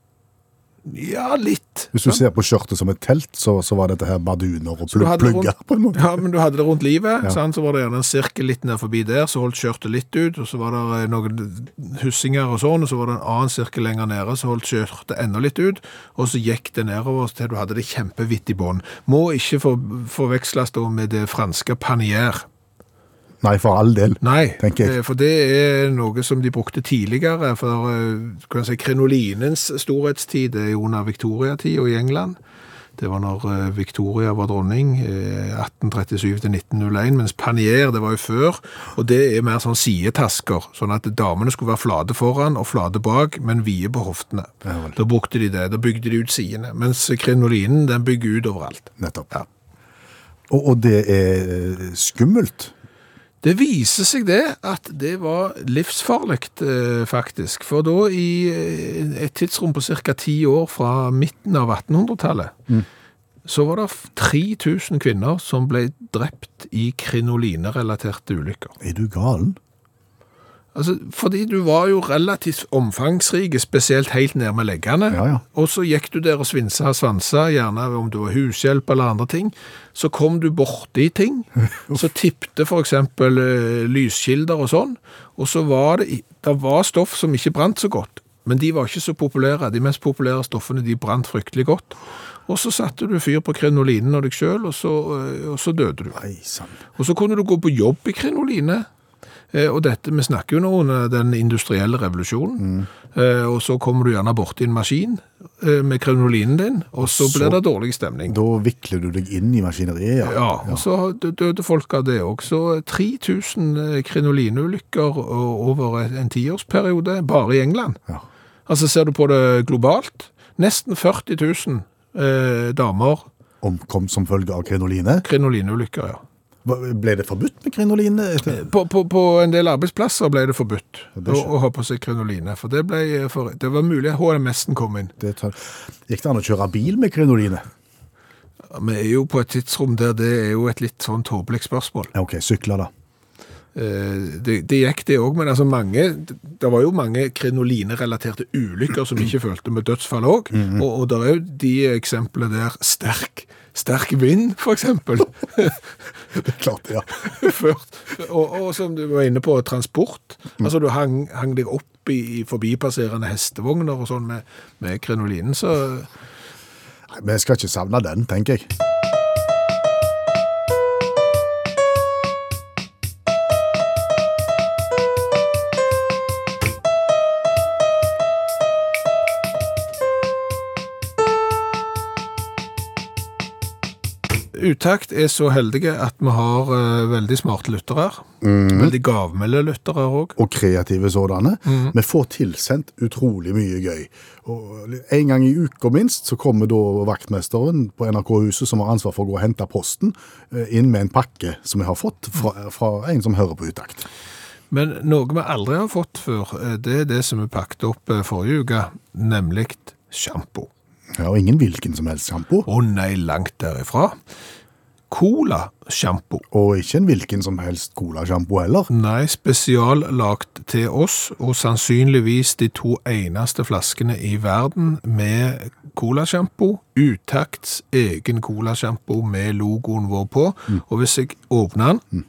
Speaker 2: Ja, litt.
Speaker 3: Hvis du ser på skjørtet som et telt, så, så var dette her barduner og
Speaker 2: Du
Speaker 3: plug
Speaker 2: hadde
Speaker 3: plugger,
Speaker 2: rundt-
Speaker 3: på en måte.
Speaker 2: <laughs> Ja, men du hadde det rundt livet, sant? så var det gjerne en sirkel litt ned forbi der, så holdt skjørtet litt ut, og så var det eh, noen hussinger og sånn, og så var det en annen sirkel lenger nede, så holdt skjørtet enda litt ut, og så gikk det nedover til du hadde det kjempevitt i bånd. Må ikke for, forveksles da med det franske panier.
Speaker 3: Nei, for all del.
Speaker 2: Nei,
Speaker 3: Tenker jeg.
Speaker 2: eh, for det er noe som de brukte tidligere, for eh, kan jeg si, krinolinens storhetstid er jo under Victoria-tid og i England. Det var når eh, Victoria var dronning, eh, 1837 til 1901, mens panier, det var jo før, og det er mer sånn sidetasker, sånn at damene skulle være flade foran og flade bak, men vide på hoftene. da brukte de det, da bygde de ut sidene, mens krinolinen, den bygger ut overalt.
Speaker 3: Nettopp.
Speaker 2: Ja.
Speaker 3: Og, og det er eh, skummelt.
Speaker 2: Det viser seg det, at det var livsfarlig, eh, faktisk. For da, i eh, et tidsrom på ca. ti år fra midten av 1800-tallet, så var det 3000 kvinner som ble drept i krinolinerelaterte ulykker.
Speaker 3: Er du galen?
Speaker 2: Altså, fordi du var jo relativt omfangsrike, spesielt helt ned med leggene.
Speaker 3: Ja, ja.
Speaker 2: Og så gikk du der og svinsa og svansa, gjerne om du var hushjelp eller andre ting. Så kom du borti
Speaker 3: <laughs>
Speaker 2: ting. så tippte f.eks. lyskilder og sånn. Og så var det, i- det var stoff som ikke brant så godt. Men de var ikke så populære. De mest populære stoffene de brant fryktelig godt. Og så satte du fyr på krinolinen og deg sjøl, og, så, øh, og så døde du.
Speaker 3: Nei sann.
Speaker 2: Og så kunne du gå på jobb i krinoline. Eh, Og dette, Vi snakker jo nå under den industrielle revolusjonen. Eh, Og så kommer du gjerne borti en maskin eh, med krinolinen din, og så
Speaker 3: så-
Speaker 2: blir det dårlig stemning.
Speaker 3: Da vikler du deg inn i maskineriet, ja.
Speaker 2: Ja, og så dø- døde folk av det òg. Så eh, 3000 krinolineulykker o- eh, over en tiårsperiode bare i England.
Speaker 3: Ja.
Speaker 2: Altså Ser du på det globalt, nesten 40 000 eh, damer
Speaker 3: Omkom som følge av krinoline.
Speaker 2: krinolineulykker. ja.
Speaker 3: Hva- Ble det forbudt med krinolin?
Speaker 2: På, på, på en del arbeidsplasser ble det forbudt
Speaker 3: det
Speaker 2: å,
Speaker 3: skjønner
Speaker 2: å ha på seg krinoline. For det, ble eh, for det var mulig at HMS-en kom inn.
Speaker 3: Det tar... Gikk det an å kjøre bil med krinolinet?
Speaker 2: Ja, Vi er jo på et tidsrom der det er jo et litt sånn tåpelig spørsmål.
Speaker 3: Ja, ok, sykla da.
Speaker 2: Eh, Det, det gikk det òg, men altså mange Det var jo mange krinolinerelaterte ulykker som ikke følte med dødsfall òg. Og, og det er jo de eksemplene der sterk, sterk vind, f.eks.
Speaker 3: <laughs> Det er klart, ja.
Speaker 2: ført. Og, og som du var inne på, transport. Altså du hang, hang deg opp i, i forbipasserende hestevogner og sånn med, med krinolinen, så
Speaker 3: Nei, men jeg skal ikke savne den, tenker jeg.
Speaker 2: Utakt er så heldige at vi har eh, veldig smarte lyttere. Veldig gavmilde lyttere òg.
Speaker 3: Og kreative sådanne. Vi får tilsendt utrolig mye gøy. Og en gang i uka minst så kommer da vaktmesteren på NRK-huset som har ansvar for å gå og hente posten, eh, inn med en pakke som jeg har fått fra, fra en som hører på utakt.
Speaker 2: Men noe vi aldri har fått før, eh, det er det som vi pakket opp eh, forrige uke, nemlig sjampo.
Speaker 3: Ja, og ingen hvilken som helst sjampo.
Speaker 2: Å nei, langt derifra. Cola-sjampo.
Speaker 3: Og ikke en hvilken som helst colasjampo heller.
Speaker 2: Nei, spesiallagt til oss, og sannsynligvis de to eneste flaskene i verden med colasjampo. Utakts egen colasjampo med logoen vår på. Og hvis jeg åpner den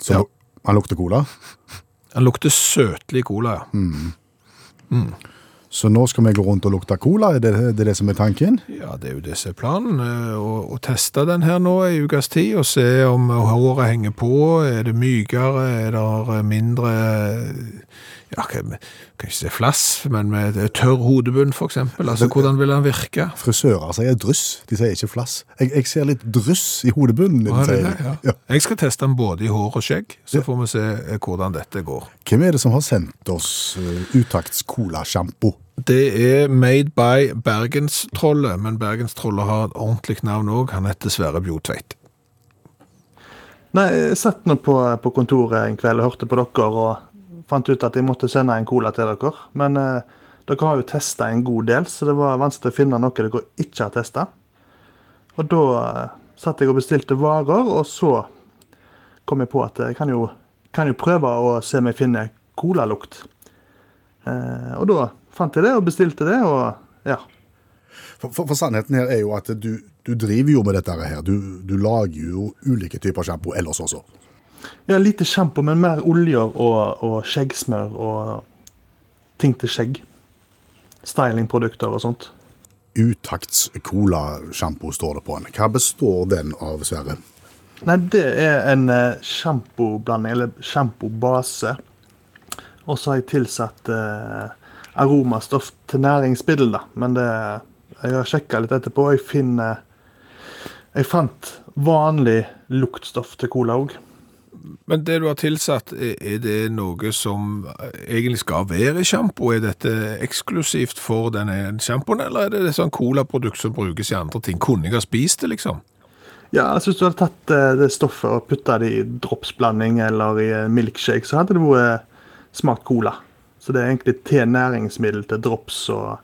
Speaker 3: Så
Speaker 2: Ja.
Speaker 3: han lukter cola.
Speaker 2: Den lukter søtlig cola, ja.
Speaker 3: Så nå skal vi gå rundt og lukte cola, er det det, er det som er tanken?
Speaker 2: Ja, det er jo det som er planen. eh, Å, å teste den her nå i ukas tid og se om håret henger på. Er det mykere? Er det eh, mindre Ja, kan kan ikke si flass, men med tørr hodebunn, f.eks. Altså, hvordan vil den virke?
Speaker 3: Frisører sier dryss, de sier ikke flass. Jeg, jeg ser litt dryss i hodebunnen din,
Speaker 2: Hva er det
Speaker 3: sier
Speaker 2: der?
Speaker 3: jeg.
Speaker 2: Ja.
Speaker 3: Ja.
Speaker 2: Jeg skal teste den både i hår og skjegg, så får vi se eh, hvordan dette går.
Speaker 3: Hvem er det som har sendt oss uh, utakts colasjampo?
Speaker 2: Det er made by Bergenstrollet, men Bergenstrollet har et ordentlig navn òg. Han heter Sverre Bjotveit.
Speaker 6: Nei, jeg satt nå på, på kontoret en kveld og hørte på dere og fant ut at jeg måtte sende en cola til dere. Men eh, dere har jo testa en god del, så det var vanskelig å finne noe dere ikke har testa. Og da eh, satt jeg og bestilte varer, og så kom jeg på at jeg kan jo, kan jo prøve å se om jeg finner colalukt. Eh, og da fant jeg det og bestilte det, og ja.
Speaker 3: For, for, for sannheten her er jo at du, du driver jo med dette her. Du, du lager jo ulike typer sjampo ellers også.
Speaker 6: Ja, lite sjampo, men mer oljer og, og skjeggsmør og ting til skjegg. Stylingprodukter og sånt.
Speaker 3: Utakts colasjampo står det på den. Hva består den av, Sverre?
Speaker 6: Nei, det er en eh, sjampoblanding, eller sjampobase. Og så har jeg tilsatt eh, aromastoff til næringsmiddel, da. Men det Jeg har sjekka litt etterpå, og jeg finner Jeg fant vanlig luktstoff til cola òg.
Speaker 2: Men det du har tilsatt, er er det noe som egentlig skal være i sjampo? Er dette eksklusivt for denne sjampoen, eller er det et sånn colaprodukt som brukes i andre ting? Kunne jeg ha spist det, liksom?
Speaker 6: Ja, altså Hvis du hadde tatt eh, det stoffet og putta det i dropsblanding eller i en milkshake, så hadde det vært eh, smakt cola. Så det er egentlig til næringsmiddel til drops og,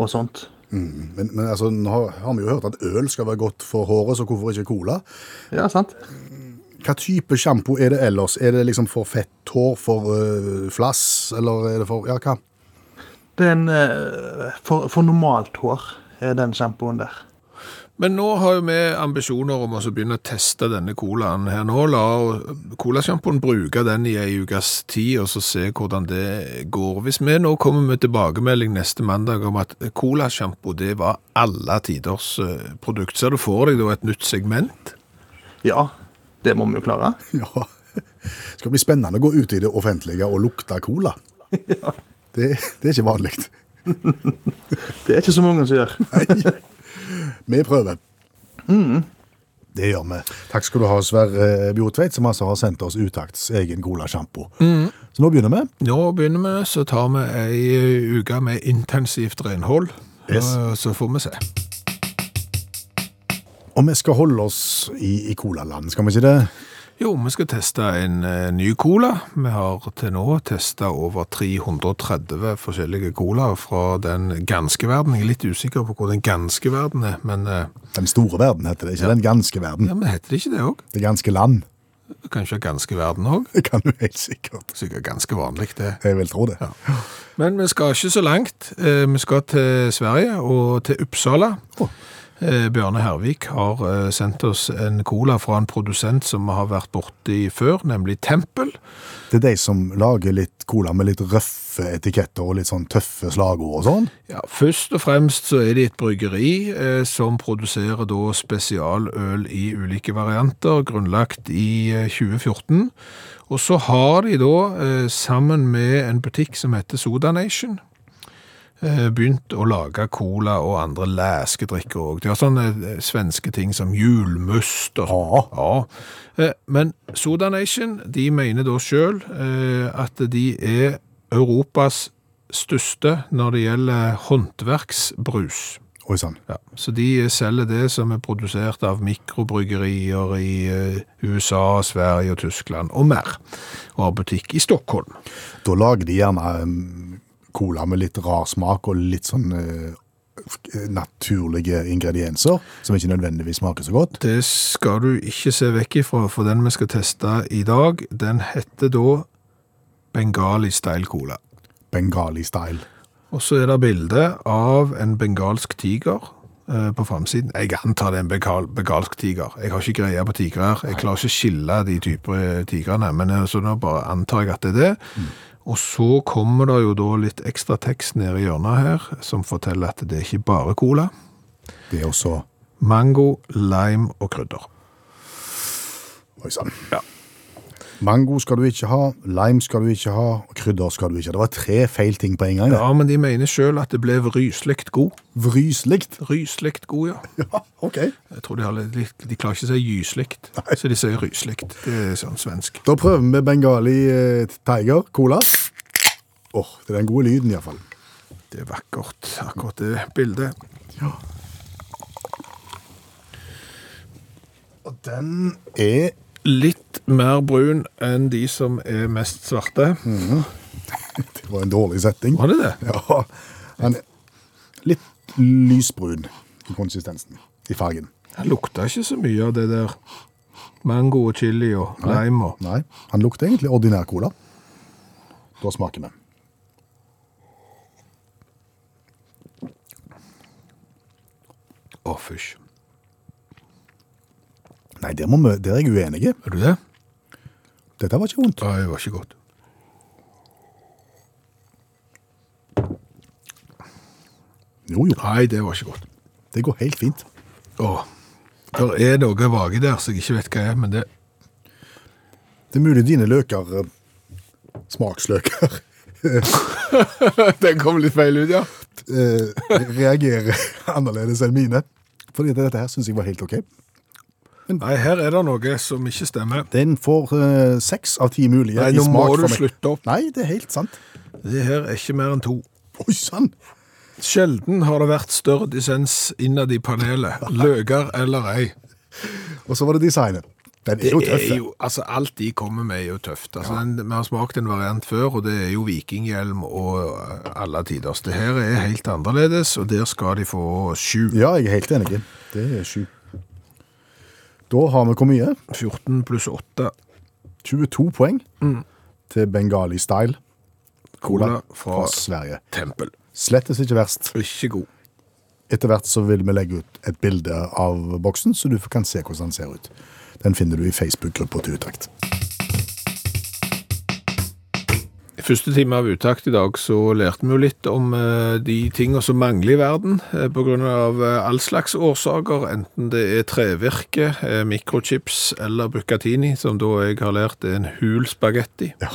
Speaker 6: og sånt.
Speaker 3: Men, men altså, nå har, har vi jo hørt at øl skal være godt for håret, så hvorfor ikke cola?
Speaker 6: Ja, sant?
Speaker 3: Hva type sjampo er det ellers? Er det liksom for fett hår, for øh, flass, eller er det for Ja, hva?
Speaker 6: Det er en eh, for, for normalt hår, er den sjampoen der.
Speaker 2: Men nå har jo vi ambisjoner om å så begynne å teste denne colaen her nå. La colasjampoen bruke den i ei ukes tid, og så se hvordan det går. Hvis vi nå kommer med tilbakemelding neste mandag om at colasjampo det var alle tiders eh, produkt, ser du for deg da et nytt segment?
Speaker 6: Ja, det må vi jo klare.
Speaker 3: <laughs> Ja. Det skal bli spennende å gå ut i det offentlige og lukte
Speaker 2: <laughs>
Speaker 3: cola. Det, det er ikke vanlig.
Speaker 6: Det er ikke så mange som gjør.
Speaker 3: Vi prøver.
Speaker 2: Mm.
Speaker 3: Det gjør vi. Takk skal du ha, Sverre Bjotveit, som altså har sendt oss utakts egen colasjampo.
Speaker 2: Mm.
Speaker 3: Så nå begynner vi.
Speaker 2: Nå begynner vi, så tar vi ei eh, uke med intensivt renhold.
Speaker 3: Yes.
Speaker 2: Eh, Så får vi se.
Speaker 3: Og vi skal holde oss i, i colaland, skal vi ikke det?
Speaker 2: Jo, vi skal teste en eh, ny cola. Vi har til nå testa over 330 forskjellige colaer fra den ganske verden. Jeg er litt usikker på hvor den ganske verden er, men eh,
Speaker 3: Den store verden heter det, ikke den ganske verden.
Speaker 2: ja, men heter det ikke det òg?
Speaker 3: Det ganske land. <laughs>
Speaker 2: Kanskje ganske verden òg?
Speaker 3: Det kan du helt sikkert.
Speaker 2: Sikkert ganske vanlig, det.
Speaker 3: Jeg vil tro det.
Speaker 2: Men vi skal ikke så langt. Eh, Vi skal til Sverige og til Uppsala. Eh, Bjarne Hervik har eh, sendt oss en cola fra en produsent som vi har vært borti før, nemlig Tempel.
Speaker 3: Det er de som lager litt cola med litt røffe etiketter og litt sånn tøffe slagord og sånn.
Speaker 2: Ja, først og fremst så er det et bryggeri eh, som produserer da spesialøl i ulike varianter, grunnlagt i eh, 2014. Og så har de da, eh, sammen med en butikk som heter Soda Nation, eh, begynt å lage cola og andre læskedrikker òg. De har sånne eh, svenske ting som julmust og sånn.
Speaker 3: Ja.
Speaker 2: ja. Eh, Men Soda Nation de mener da sjøl at de er Europas største når det gjelder håndverksbrus.
Speaker 3: Oi sann.
Speaker 2: Ja, så de selger det som er produsert av mikrobryggerier i eh, USA, Sverige og Tyskland og mer. Og har butikk i Stockholm.
Speaker 3: Da lager de gjerne mm, cola med litt rar smak og litt sånn eh, f- naturlige ingredienser, som ikke nødvendigvis smaker så godt.
Speaker 2: Det skal du ikke se vekk ifra, for den vi skal teste i dag, den heter da Bengali Style Cola.
Speaker 3: Bengali-style.
Speaker 2: Og så er det bilde av en bengalsk tiger eh, på framsiden. Jeg antar det er en bengal, bengalsk tiger. Jeg har ikke greie på tigrer. Jeg klarer ikke å skille de typer eh, tigrene, men eh, så nå bare antar jeg at det er det. Og så kommer det jo da litt ekstra tekst nede i hjørnet her, som forteller at det er ikke bare cola.
Speaker 3: Det er også
Speaker 2: Mango, lime og krydder.
Speaker 3: Oi sann.
Speaker 2: Ja.
Speaker 3: Mango skal du ikke ha, lime skal du ikke ha, og krydder skal du ikke ha. Det var tre feil ting på en gang.
Speaker 2: Ja, men de mener sjøl at det ble ryslikt god.
Speaker 3: Vryslikt.
Speaker 2: Ryslikt god, ja.
Speaker 3: Ja, ok.
Speaker 2: Jeg tror de, har litt, de klarer ikke å si gyslikt, så de sier ryslikt. Det er sånn svensk.
Speaker 3: Da prøver vi Bengali eh, Tiger Cola. Åh, det er den gode lyden iallfall.
Speaker 2: Det er vakkert, akkurat det bildet.
Speaker 3: Og den er
Speaker 2: Litt mer brun enn de som er mest svarte.
Speaker 3: Det var en dårlig setting.
Speaker 2: Var det det?
Speaker 3: <laughs> Ja, den er litt lysbrun i konsistensen, i fargen.
Speaker 2: Det lukta ikke så mye av det der mango og chili og lime og
Speaker 3: Nei, han lukter egentlig ordinær cola. Da smaker vi.
Speaker 2: Å, fysj.
Speaker 3: Nei, der, må vi, der er jeg uenig.
Speaker 2: Er du det?
Speaker 3: Dette var ikke vondt.
Speaker 2: Nei, det var ikke godt.
Speaker 3: Jo, jo,
Speaker 2: Nei, det var ikke godt.
Speaker 3: det går helt fint.
Speaker 2: Å, det er noe vage der som jeg ikke vet hva er, men det
Speaker 3: Det er mulig dine løker eh, Smaksløker
Speaker 2: <laughs> Den kom litt feil ut, ja.
Speaker 3: eh, reagerer annerledes enn mine. Fordi dette her syns jeg var helt OK.
Speaker 2: Nei, her er det noe som ikke stemmer.
Speaker 3: Den får eh, seks av ti mulige
Speaker 2: Nei,
Speaker 3: i
Speaker 2: nå må
Speaker 3: smak
Speaker 2: du
Speaker 3: for meg.
Speaker 2: slutte opp.
Speaker 3: Nei, det er helt sant.
Speaker 2: Det her er ikke mer enn to.
Speaker 3: Oi sann!
Speaker 2: Sjelden har det vært større dissens innad i panelet. Løker eller ei.
Speaker 3: Og så var det designet. Den er jo
Speaker 2: Det
Speaker 3: tøff.
Speaker 2: er
Speaker 3: den.
Speaker 2: jo, altså Alt de kommer med er jo tøft. Altså, den, vi har smakt en variant før, og det er jo vikinghjelm og eh, alle tiders. Det her er helt annerledes, og der skal de få sju.
Speaker 3: Ja, jeg er helt enig. Det er sju. Da har vi hvor mye?
Speaker 2: 14 pluss 8
Speaker 3: 22 poeng
Speaker 2: Mm.
Speaker 3: til Bengali Style
Speaker 2: cola
Speaker 3: fra
Speaker 2: fra
Speaker 3: Sverige.
Speaker 2: Tempel.
Speaker 3: Slettes ikke verst.
Speaker 2: Ikke god.
Speaker 3: Etter hvert så vil vi legge ut et bilde av boksen, så du kan se hvordan den ser ut. Den finner du i Facebook-gruppa til Utakt.
Speaker 2: I første time av uttakt i dag så lærte vi jo litt om eh, de tingene som mangler i verden eh, på grunn av eh, all slags årsaker, enten det er trevirke, eh, mikrochips eller bucatini, som da jeg har lært er en hul spagetti.
Speaker 3: Ja.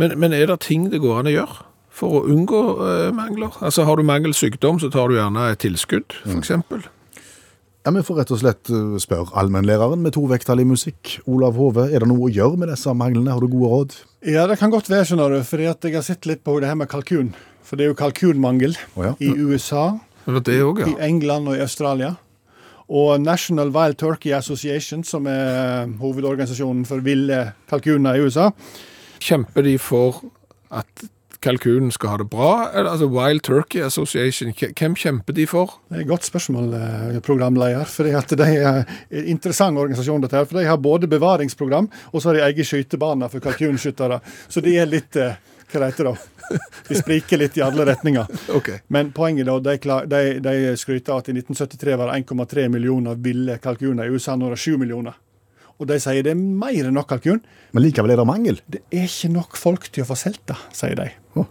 Speaker 2: Men, men er det ting det går an å gjøre for å unngå eh, mangler? Altså har du mangelsykdom, så tar du gjerne et tilskudd, for eksempel.
Speaker 3: Ja, Vi får rett og slett eh, spørre allmennlæreren med to vekttall i musikk, Olav Hove. Er det noe å gjøre med disse manglene? Har du gode råd?
Speaker 5: Ja, det kan godt være, skjønner du, fordi at jeg har sett litt på det her med kalkun. For det er jo kalkunmangel
Speaker 3: Å ja.
Speaker 5: i USA,
Speaker 2: Er det det også,
Speaker 5: i
Speaker 2: ja?
Speaker 5: England og i Australia. Og National Wild Turkey Association, som er eh, hovedorganisasjonen for ville kalkuner i USA,
Speaker 2: Kjemper de for at kalkunen skal ha det bra? Eller, altså Wild Turkey Association, k- hvem kjemper de for?
Speaker 5: Det er et godt spørsmål, eh, programleder. fordi at De eh, er en interessant organisasjon, dette her, for de har både bevaringsprogram og så har de egen skytebane for kalkunskyttere. Så de er litt eh, Hva heter det? da? <laughs> De spriker litt i alle retninger.
Speaker 2: Ok.
Speaker 5: Men poenget da, de, kla- de, de skryter av at i 1973 var det 1,3 millioner ville kalkuner i USA. Nå er det 7 millioner. Og de sier det er mer enn nok kalkun.
Speaker 3: Men likevel er det mangel.
Speaker 5: Det er ikke nok folk til å få solgt det, sier de.
Speaker 3: Å.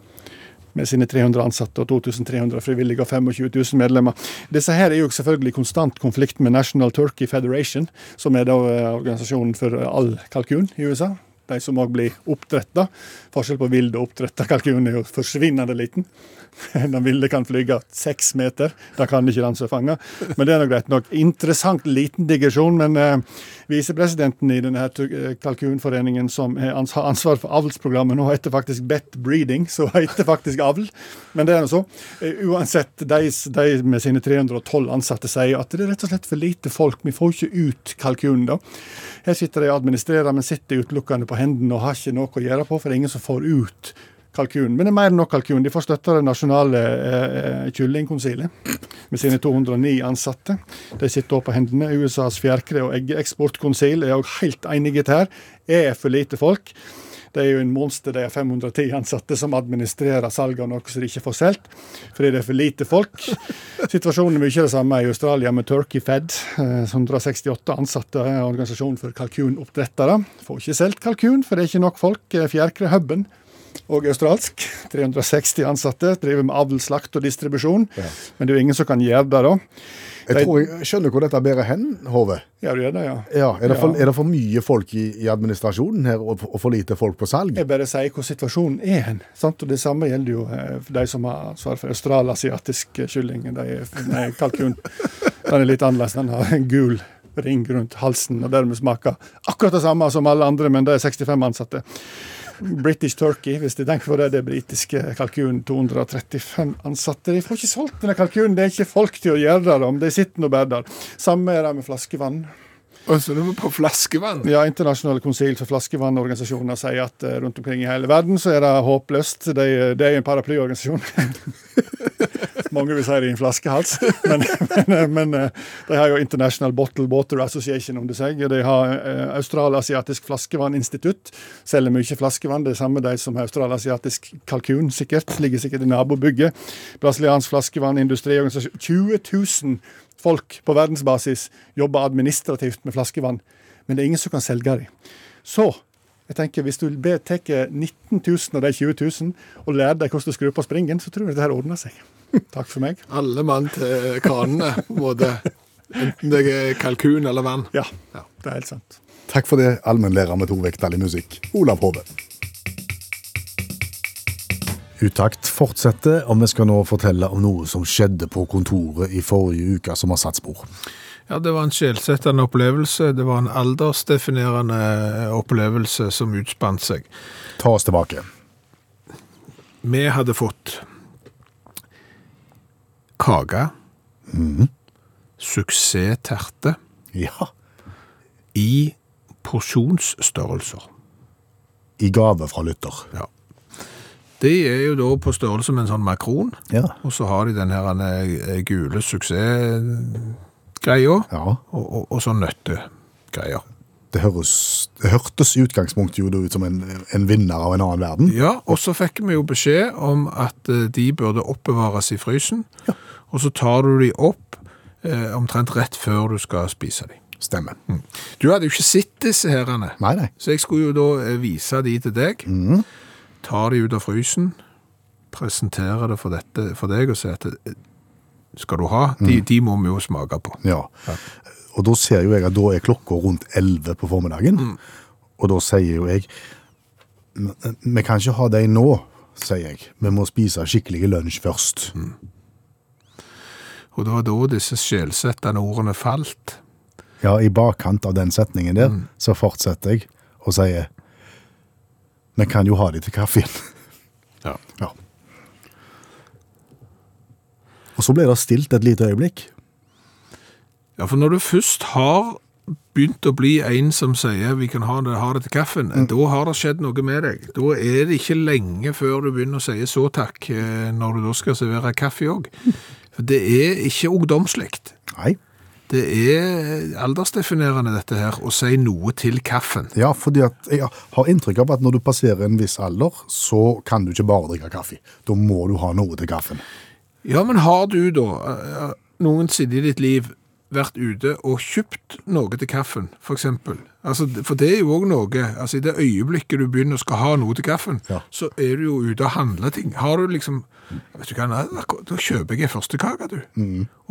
Speaker 5: Med sine 300 ansatte og 2300 frivillige og 25 000 medlemmer. Disse her er jo selvfølgelig i konstant konflikt med National Turkey Federation, som er da eh, organisasjonen for eh, all kalkun i USA. De som òg blir oppdretta. Forskjell på vill og oppdretta kalkun er jo forsvinnende liten. <laughs> Den ville kan flyge seks meter. Det kan ikke den som er fanga. Men det er nå greit nok. Interessant liten digresjon. Men eh, visepresidenten i denne her tu- eh, kalkunforeningen som er ans har ansvar for avlsprogrammet, nå heter faktisk Bet Breeding, så <laughs> heter faktisk avl. Men det er nå så. Eh, uansett, de, s- de med sine 312 ansatte sier at det er rett og slett for lite folk. Vi får ikke ut kalkunen, da. Her sitter de og administrerer, men sitter utelukkende på hendene og har ikke noe å gjøre på, for det er ingen som får ut kalkun. Men det er mer enn nok kalkun. De får støtte av det nasjonale eh, eh, kyllingkonsilet med sine 209 ansatte. De sitter også på hendene. USAs fjærkre- og eggeeksportkonsil er òg helt enige her. Er for lite folk. Det er jo en monster, de har 510 ansatte som administrerer salget av noe som de ikke får solgt, fordi det er for lite folk. Situasjonen er mye det samme i Australia med Turkey Fed, eh, som 168 ansatte er en organisasjon for kalkunoppdrettere. Får ikke solgt kalkun, for det er ikke nok folk. eh, Fjærkrehubben og australsk. <laughs> 360 ansatte, driver med avl, slakt og distribusjon. Men det er jo ingen som kan gjøre det, da.
Speaker 3: Jeg tror jeg skjønner hvor dette bærer hen, Hove.
Speaker 5: Ja, du gjør det, ja.
Speaker 3: Ja, er, det for,
Speaker 5: Ja.
Speaker 3: er det for mye folk i, i administrasjonen her, og, og for lite folk på salg?
Speaker 5: Jeg bare sier hvor situasjonen er hen. sant? Og Det samme gjelder jo eh, de som har ansvar for australasiatisk kylling. De er- nei, kalkun. Den er litt annerledes. Den har en gul ring rundt halsen og dermed smaker akkurat det samme som alle andre, men det er 65 ansatte. British Turkey, hvis de tenker på det, det er britiske kalkunen. 235 ansatte. De får ikke solgt denne kalkunen. Det er ikke folk til å gjøre det, om de sitter nå bare der. Samme er det med flaskevann.
Speaker 2: Og så er vi på flaskevann.
Speaker 5: Ja, Internasjonale konsil for flaskevannorganisasjoner sier at eh, rundt omkring i hele verden så er det håpløst. Det er, det er jo en paraplyorganisasjon. <laughs> Mange vil si det er en flaskehals, <laughs> men, men, eh, men eh, de har jo International Bottle Water Association om det seg. De har eh, Australasiatisk flaskevanninstitutt. Selger mye flaskevann. Det er samme de som har australasiatisk kalkun, sikkert. Ligger sikkert i nabobygget. Brasiliansk flaskevannindustriorganisasjon. 20 000 folk på verdensbasis jobber administrativt med flaskevann men det er ingen som kan selge dem. Så jeg tenker, hvis du be- tar 19 000 av de 20 000 og lærer dem hvordan du skrur på springen, så tror jeg det her ordner seg. <laughs> Takk for meg.
Speaker 2: Alle mann til kranene, på en måte. Enten det er kalkun eller vann.
Speaker 5: Ja, det er helt sant.
Speaker 3: Takk for det, allmennlærer med to vekttall i musikk, Olav Hove. Utakt fortsetter, og vi skal nå fortelle om noe som skjedde på kontoret i forrige uke, som har satt spor.
Speaker 2: Ja, det var en sjelsettende opplevelse. Det var en aldersdefinerende eh, opplevelse som utspant seg.
Speaker 3: Ta oss tilbake.
Speaker 2: Vi hadde fått kake, suksessterte
Speaker 3: Ja.
Speaker 2: i porsjonsstørrelser.
Speaker 3: I gave fra lytter.
Speaker 2: De er jo da på størrelse med en sånn makron,
Speaker 3: Ja.
Speaker 2: og så har de den her eh, gule suksessgreia,
Speaker 3: Ja,
Speaker 2: og, og, og sånn så nøttegreier.
Speaker 3: det, høres, det hørtes i utgangspunktet jo ut som en, en vinner av en annen verden.
Speaker 2: Ja, og så fikk vi jo beskjed om at eh, de burde oppbevares i frysen, og så tar du de opp eh, omtrent rett før du skal spise de.
Speaker 3: Stemmer.
Speaker 2: Du hadde jo ikke sett disse herrene,
Speaker 3: Nei, nei.
Speaker 2: så jeg skulle jo da eh, vise de til deg, tar de ut av frysen, presenterer det for, dette, for deg og sier at eh, skal du ha, de, de må vi jo smake på.
Speaker 3: Ja. Og da ser jo jeg at da er klokka rundt 11 på formiddagen. Og da sier jo jeg "Men, eh, Vi kan ikke ha deg nå, sier jeg. Vi må spise skikkelig lunsj først.
Speaker 2: Og det var da disse sjelsettende ordene falt.
Speaker 3: Ja, i bakkant av den setningen der, så fortsetter jeg og sier Vi kan jo ha de til kaffen.
Speaker 2: Ja.
Speaker 3: <laughs> ja. Og så ble det stilt et lite øyeblikk.
Speaker 2: Ja, for når du først har begynt å bli en som sier vi kan ha det, ha det til kaffen, da har det skjedd noe med deg. Da er det ikke lenge før du begynner å si så takk, eh, når du da skal servere kaffe òg. For det er ikke ungdomslikt.
Speaker 3: Nei.
Speaker 2: Det er aldersdefinerende dette her, å si noe til kaffen.
Speaker 3: Ja, fordi at jeg har inntrykk av at når du passerer en viss alder, så kan du ikke bare drikke kaffe. Da må du ha noe til kaffen.
Speaker 2: Ja, men har du da eh, noensinne i ditt liv vært ute og kjøpt noe til kaffen, for eksempel? Altså, for det er jo også noe, altså i det øyeblikket du begynner å skal ha noe til kaffen,
Speaker 3: Ja.
Speaker 2: så er du jo ute og handler ting. Har du liksom, vet du hva, nei, da kjøper jeg en førstekake, du.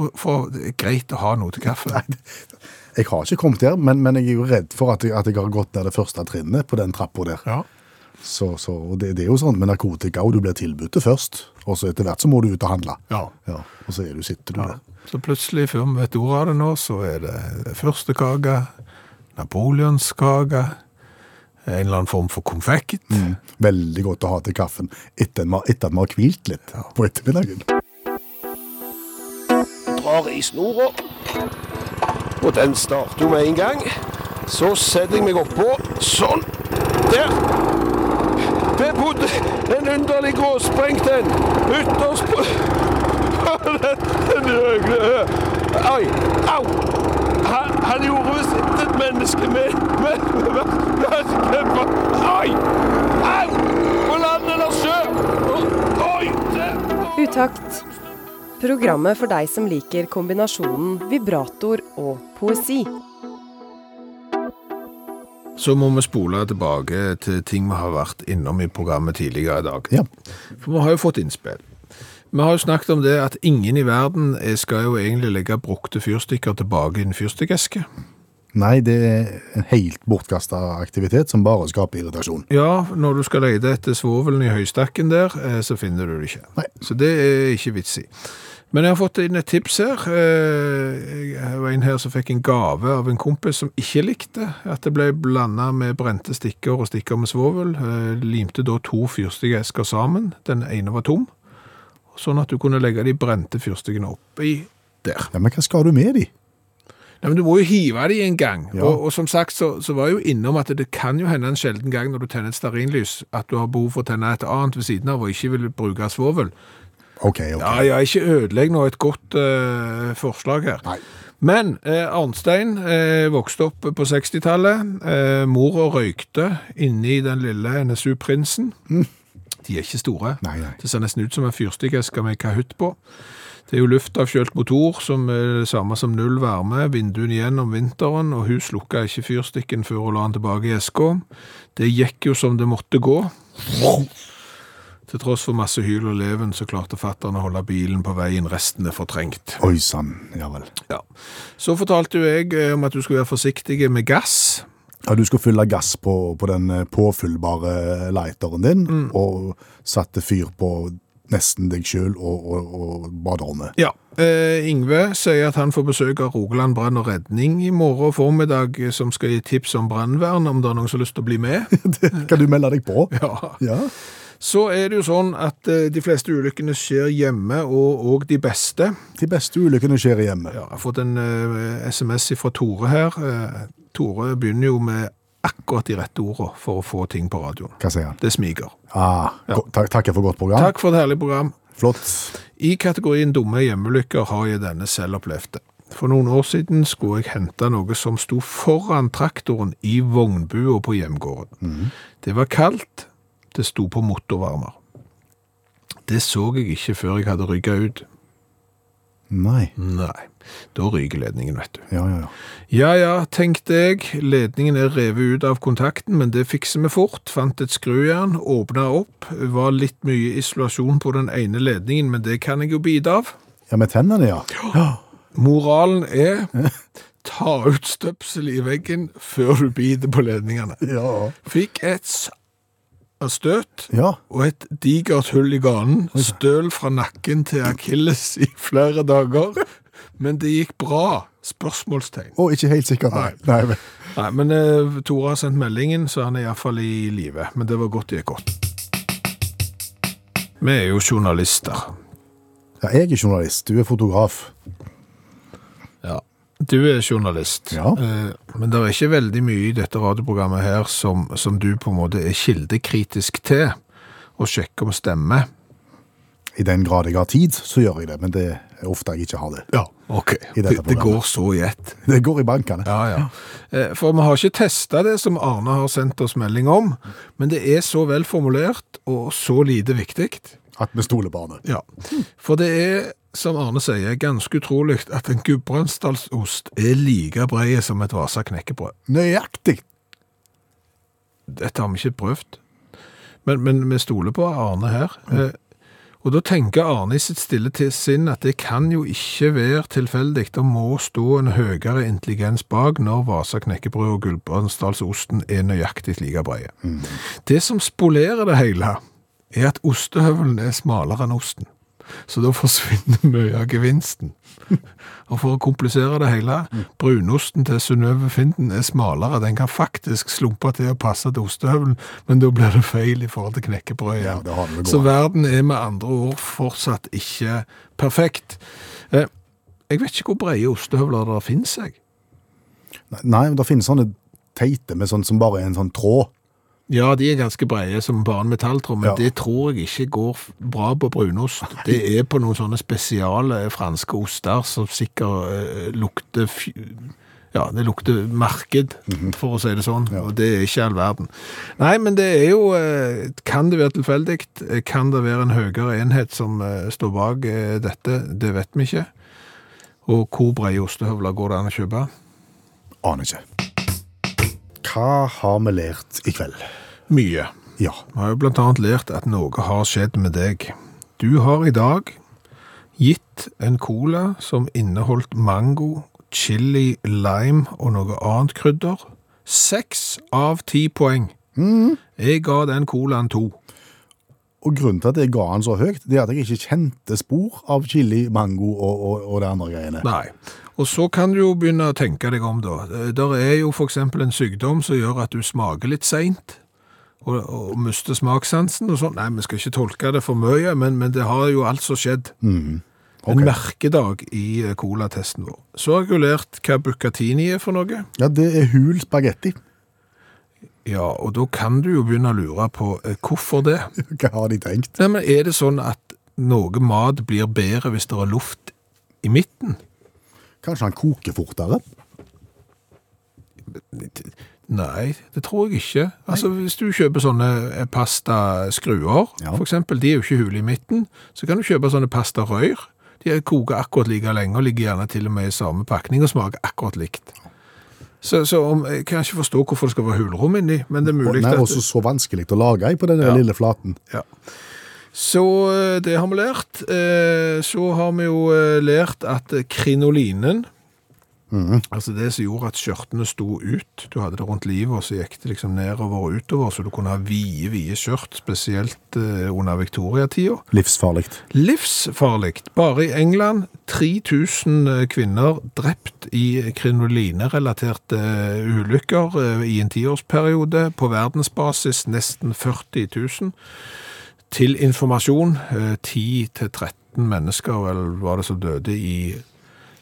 Speaker 2: Og for det er greit å ha noe til kaffen.
Speaker 3: Jeg har ikke kommet der, men, men jeg er jo redd for at jeg, at jeg har gått ned det første trinnet på den trappa der.
Speaker 2: Ja.
Speaker 3: Så, så og det, det er jo sånn med narkotika, og du blir tilbudt det først, og så etter hvert så må du ut og handle.
Speaker 2: Ja.
Speaker 3: Ja, og så er du, sitter du der.
Speaker 2: Så plutselig, før vi vet ordet av det nå, så er det førstekake, napoleonskake, en eller annen form for konfekt.
Speaker 3: Veldig godt å ha til kaffen etter en- etter at vi har hvilt litt på ettermiddagen.
Speaker 7: drar i snora. Og den starter jo med en gang. Så setter jeg meg oppå. Sånn. Der. Der bodde en underlig gråsprengt en. Ytterst på <laughs> Den røgle Oi. Au. Han, han gjorde visst et menneske med med- med verken på Oi! Au! På land eller sjø. Oi! Der.
Speaker 8: Utakt. Programmet for deg som liker kombinasjonen vibrator og poesi.
Speaker 2: Så må vi spole tilbake til ting vi har vært innom i programmet tidligere i dag.
Speaker 3: Ja.
Speaker 2: For vi har jo fått innspill. Vi har jo snakket om det at ingen i verden eh, skal jo egentlig legge brukte fyrstikker tilbake i en fyrstikkeske.
Speaker 3: Nei, det er en helt bortkasta aktivitet som bare skaper irritasjon.
Speaker 2: Ja, når du skal lete etter svovelen i høystakken der, eh, så finner du det ikke.
Speaker 3: Nei.
Speaker 2: Så det er ikke vits i. Men jeg har fått inn et tips her. Eh, Jeg var en her som fikk en gave av en kompis som ikke likte at det ble blanda med brente stikker og stikker med svovel. Eh, Limte da to fyrstikkesker sammen. Den ene var tom, sånn at du kunne legge de brente fyrstikkene oppi der.
Speaker 3: Ja, Men hva skal du med de?
Speaker 2: Nei, men Du må jo hive dem en gang.
Speaker 3: Ja.
Speaker 2: Og, og som sagt så, så var jeg jo innom at det kan jo hende en sjelden gang når du tenner et stearinlys, at du har behov for å tenne et annet ved siden av og ikke vil bruke svovel.
Speaker 3: OK, ok.
Speaker 2: Ja, ja, ikke ødelegg nå et godt eh, forslag her.
Speaker 3: Nei.
Speaker 2: Men eh, Arnstein eh, vokste opp på 60-tallet. Eh, Mora røykte inni den lille NSU-prinsen. De er ikke store.
Speaker 3: Nei, nei.
Speaker 2: Det ser nesten ut som en fyrstikkeske med kahutt på. Det er jo luftavkjølt motor, som er det samme som null varme, vinduene igjen om vinteren, og hun slukka ikke fyrstikken før hun la den tilbake i eska. Det gikk jo som det måtte gå. Til tross for masse hyl og leven, så klarte fatterne å holde bilen på veien, resten er fortrengt.
Speaker 3: Oi sann, ja vel.
Speaker 2: Ja. Så fortalte jo jeg eh, om at du skulle være forsiktig med gass.
Speaker 3: Ja, du skulle fylle gass på, på den eh, påfyllbare eh, lighteren din,
Speaker 2: Mm.
Speaker 3: og satte fyr på nesten deg sjøl og, og, og baderommet.
Speaker 2: Ja. Eh, Ingve sier at han får besøk av Rogaland brann og redning i morgen formiddag, eh, som skal gi tips om brannvern, om det er noen som har lyst til å bli med.
Speaker 3: Kan du melde deg på?
Speaker 2: <laughs> Ja.
Speaker 3: Ja.
Speaker 2: Så er det jo sånn at eh, de fleste ulykkene skjer hjemme, og, og de beste.
Speaker 3: De beste ulykkene skjer i hjemmet.
Speaker 2: Ja, jeg har fått en eh, SMS fra Tore her. Eh, Tore begynner jo med akkurat de rette ordene for å få ting på radioen.
Speaker 3: Hva sier han?
Speaker 2: Det smiger.
Speaker 3: Ah, go- tak takker for godt program.
Speaker 2: Takk for et herlig program.
Speaker 3: Flott.
Speaker 2: I kategorien dumme hjemmelykker har jeg denne selv opplevd. For noen år siden skulle jeg hente noe som sto foran traktoren i vognbua på hjemgården. Det var kaldt, det sto på motorvarmer. Det så jeg ikke før jeg hadde rygga ut.
Speaker 3: Nei.
Speaker 2: Nei, da ryker ledningen, vet du.
Speaker 3: Ja, ja, ja.
Speaker 2: Ja ja, tenkte jeg. Ledningen er revet ut av kontakten, men det fikser vi fort. Fant et skrujern, åpna opp. Var litt mye isolasjon på den ene ledningen, men det kan jeg jo bite av.
Speaker 3: Ja, med tennene, ja.
Speaker 2: Moralen er ta ut støpsel i veggen før du biter på ledningene.
Speaker 3: Ja.
Speaker 2: Fikk et s- støt
Speaker 3: Ja.
Speaker 2: og et digert hull i ganen. Støl fra nakken til akilles i flere dager. Men det gikk bra. Spørsmålstegn.
Speaker 3: Og ikke helt sikkert. Nei. Nei, vel.
Speaker 2: Nei, men eh, Tore har sendt meldingen, så han er iallfall i live. Men det var godt det gikk godt. Vi er jo journalister.
Speaker 3: ja, jeg er journalist, du er fotograf.
Speaker 2: Ja. Du er journalist,
Speaker 3: Ja.
Speaker 2: eh, men det er ikke veldig mye i dette radioprogrammet her som, som du på en måte er kildekritisk til, og sjekker om stemmer.
Speaker 3: I den grad jeg har tid, så gjør jeg det, men det er ofte jeg ikke har det.
Speaker 2: Ja, ok.
Speaker 3: I dette
Speaker 2: Det, det
Speaker 3: programmet.
Speaker 2: går så i ett.
Speaker 3: Det går i bankene.
Speaker 2: Ja, ja. Eh, For vi har ikke testa det som Arne har sendt oss melding om, men det er så vel formulert og så lite viktig.
Speaker 3: At vi stoler på Arne.
Speaker 2: Ja. For det er, som Arne sier, ganske utrolig at en gudbrandsdalsost er like bred som et Vasa knekkebrød.
Speaker 3: Nøyaktig!
Speaker 2: Dette har vi ikke prøvd, men, men vi stoler på Arne her. Eh, Og da tenker Arne i sitt stille til sinn at det kan jo ikke være tilfeldig. Det må stå en høyere intelligens bak når Vasa knekkebrød og Gulbrandsdalsosten er nøyaktig like brede. Det som spolerer det hele, er at ostehøvelen er smalere enn osten. Så da forsvinner <laughs> mye av gevinsten. Og for å komplisere det hele, brunosten til Synnøve Finden er smalere. Den kan faktisk slumpe til å passe til ostehøvelen, men da blir det feil i forhold til knekkebrød
Speaker 3: Ja,
Speaker 2: igjen.
Speaker 3: det har vi gående.
Speaker 2: Så verden er med andre ord fortsatt ikke perfekt. Eh, Jeg vet ikke hvor brede ostehøvler det finnes, jeg.
Speaker 3: Nei, Nei, men det finnes sånne teite med sånn som bare er en sånn tråd.
Speaker 2: Ja, de er ganske brede som bare en metalltråd, men
Speaker 3: Ja.
Speaker 2: det tror jeg ikke går f- bra på brunost. Det er på noen sånne spesiale franske oster som sikkert eh, lukter fj- Ja, det lukter marked, for å si det sånn, og det er ikke all verden. Nei, men det er jo eh, Kan det være tilfeldig? Eh, Kan det være en høyere enhet som eh, står bak eh, dette? Det vet vi ikke. Og hvor brede ostehøvler går det an å kjøpe?
Speaker 3: Aner ikke. Hva har vi lært i kveld?
Speaker 2: Mye.
Speaker 3: Ja.
Speaker 2: Vi har jo blant annet lært at noe har skjedd med deg. Du har i dag gitt en cola som inneholdt mango, chili, lime og noe annet krydder. Seks av ti poeng. Jeg ga den colaen to.
Speaker 3: Og grunnen til at jeg ga han så høyt, det er at jeg ikke kjente spor av chili, mango og, og, og det andre greiene.
Speaker 2: Nei. Og så kan du jo begynne å tenke deg om, da. Eh, Der er jo f.eks. en sykdom som gjør at du smaker litt seint. Og, og mister smakssansen og sånn. Nei, vi skal ikke tolke det for mye, men, men det har jo altså skjedd. En merkedag i eh, colatesten vår. Så har jeg jo lært hva bucatini er for noe.
Speaker 3: Ja, det er hul spagetti.
Speaker 2: Ja, og da kan du jo begynne å lure på eh, hvorfor det.
Speaker 3: Hva har de tenkt?
Speaker 2: Nei, men er det sånn at noe mat blir bedre hvis det er luft i midten?
Speaker 3: Kanskje han koker fortere?
Speaker 2: Nei, det tror jeg ikke. Altså, Hvis du kjøper sånne eh, pastaskruer,
Speaker 3: Ja.
Speaker 2: for eksempel, de er jo ikke hul i midten, så kan du kjøpe sånne pastarøyr. De er- koker akkurat like lenge og ligger gjerne til og med i samme pakning og smaker akkurat likt. Så, så om, jeg kan ikke forstå hvorfor det skal være hulrom inni, men det er
Speaker 3: Og,
Speaker 2: mulig
Speaker 3: nei,
Speaker 2: at
Speaker 3: også så vanskelig å lage i på den der lille flaten.
Speaker 2: ja. Så eh, det har vi lært. Eh, Så har vi jo eh, lært at eh, krinolinen, altså det som gjorde at skjørtene sto ut, du hadde det rundt livet, og så gikk det liksom nedover og utover, så du kunne ha vide, vide skjørt, spesielt eh, under Victoria-tida.
Speaker 3: Livsfarlig. <laughs>
Speaker 2: Livsfarlig. Bare i England 3000 kvinner drept i krinolinerelaterte ulykker eh, i en tiårsperiode. På verdensbasis nesten 40 000. Til informasjon eh, 10-13 mennesker vel, var det som døde i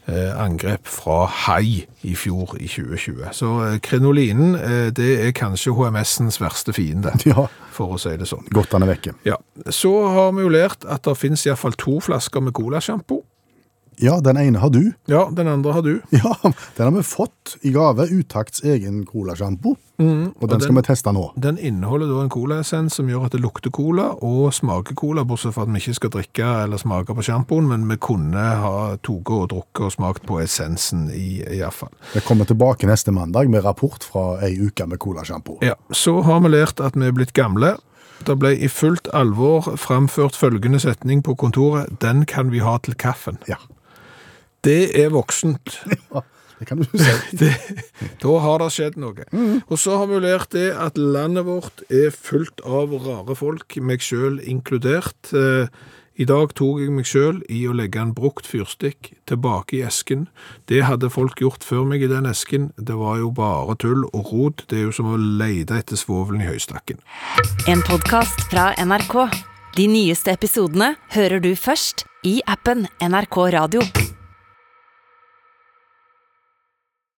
Speaker 2: eh, angrep fra hai i fjor i 2020. Så eh, krinolinen eh, det er kanskje HMS-ens verste fiende,
Speaker 3: Ja,
Speaker 2: for å si det sånn.
Speaker 3: godt han er vekke.
Speaker 2: Ja, Så har vi jo lært at det finnes iallfall to flasker med colasjampo.
Speaker 3: Ja, den ene har du.
Speaker 2: Ja, den andre har du.
Speaker 3: <laughs> Ja, den har vi fått i gave. Utakts egen colasjampo. Mm, og den skal vi teste nå.
Speaker 2: Den inneholder da en colaessens som gjør at det lukter cola og smaker cola, bortsett fra at vi ikke skal drikke eller smake på sjampoen, men vi kunne ha tatt og drukket og smakt på essensen i iallfall.
Speaker 3: Jeg kommer tilbake neste mandag med rapport fra ei uke med colasjampo.
Speaker 2: Ja, så har vi lært at vi er blitt gamle. Det ble i fullt alvor framført følgende setning på kontoret 'Den kan vi ha til kaffen'.
Speaker 3: Ja.
Speaker 2: Det er voksent.
Speaker 3: <laughs> Det kan du si.
Speaker 2: det, da har det skjedd noe. Og så har vi jo lært det at landet vårt er fullt av rare folk, meg sjøl inkludert. Eh, I dag tok jeg meg sjøl i å legge en brukt fyrstikk tilbake i esken. Det hadde folk gjort før meg i den esken. Det var jo bare tull og rot. Det er jo som å lete etter svovelen i høystakken.
Speaker 1: En podcast fra NRK. De nyeste episodene hører du først i appen NRK Radio.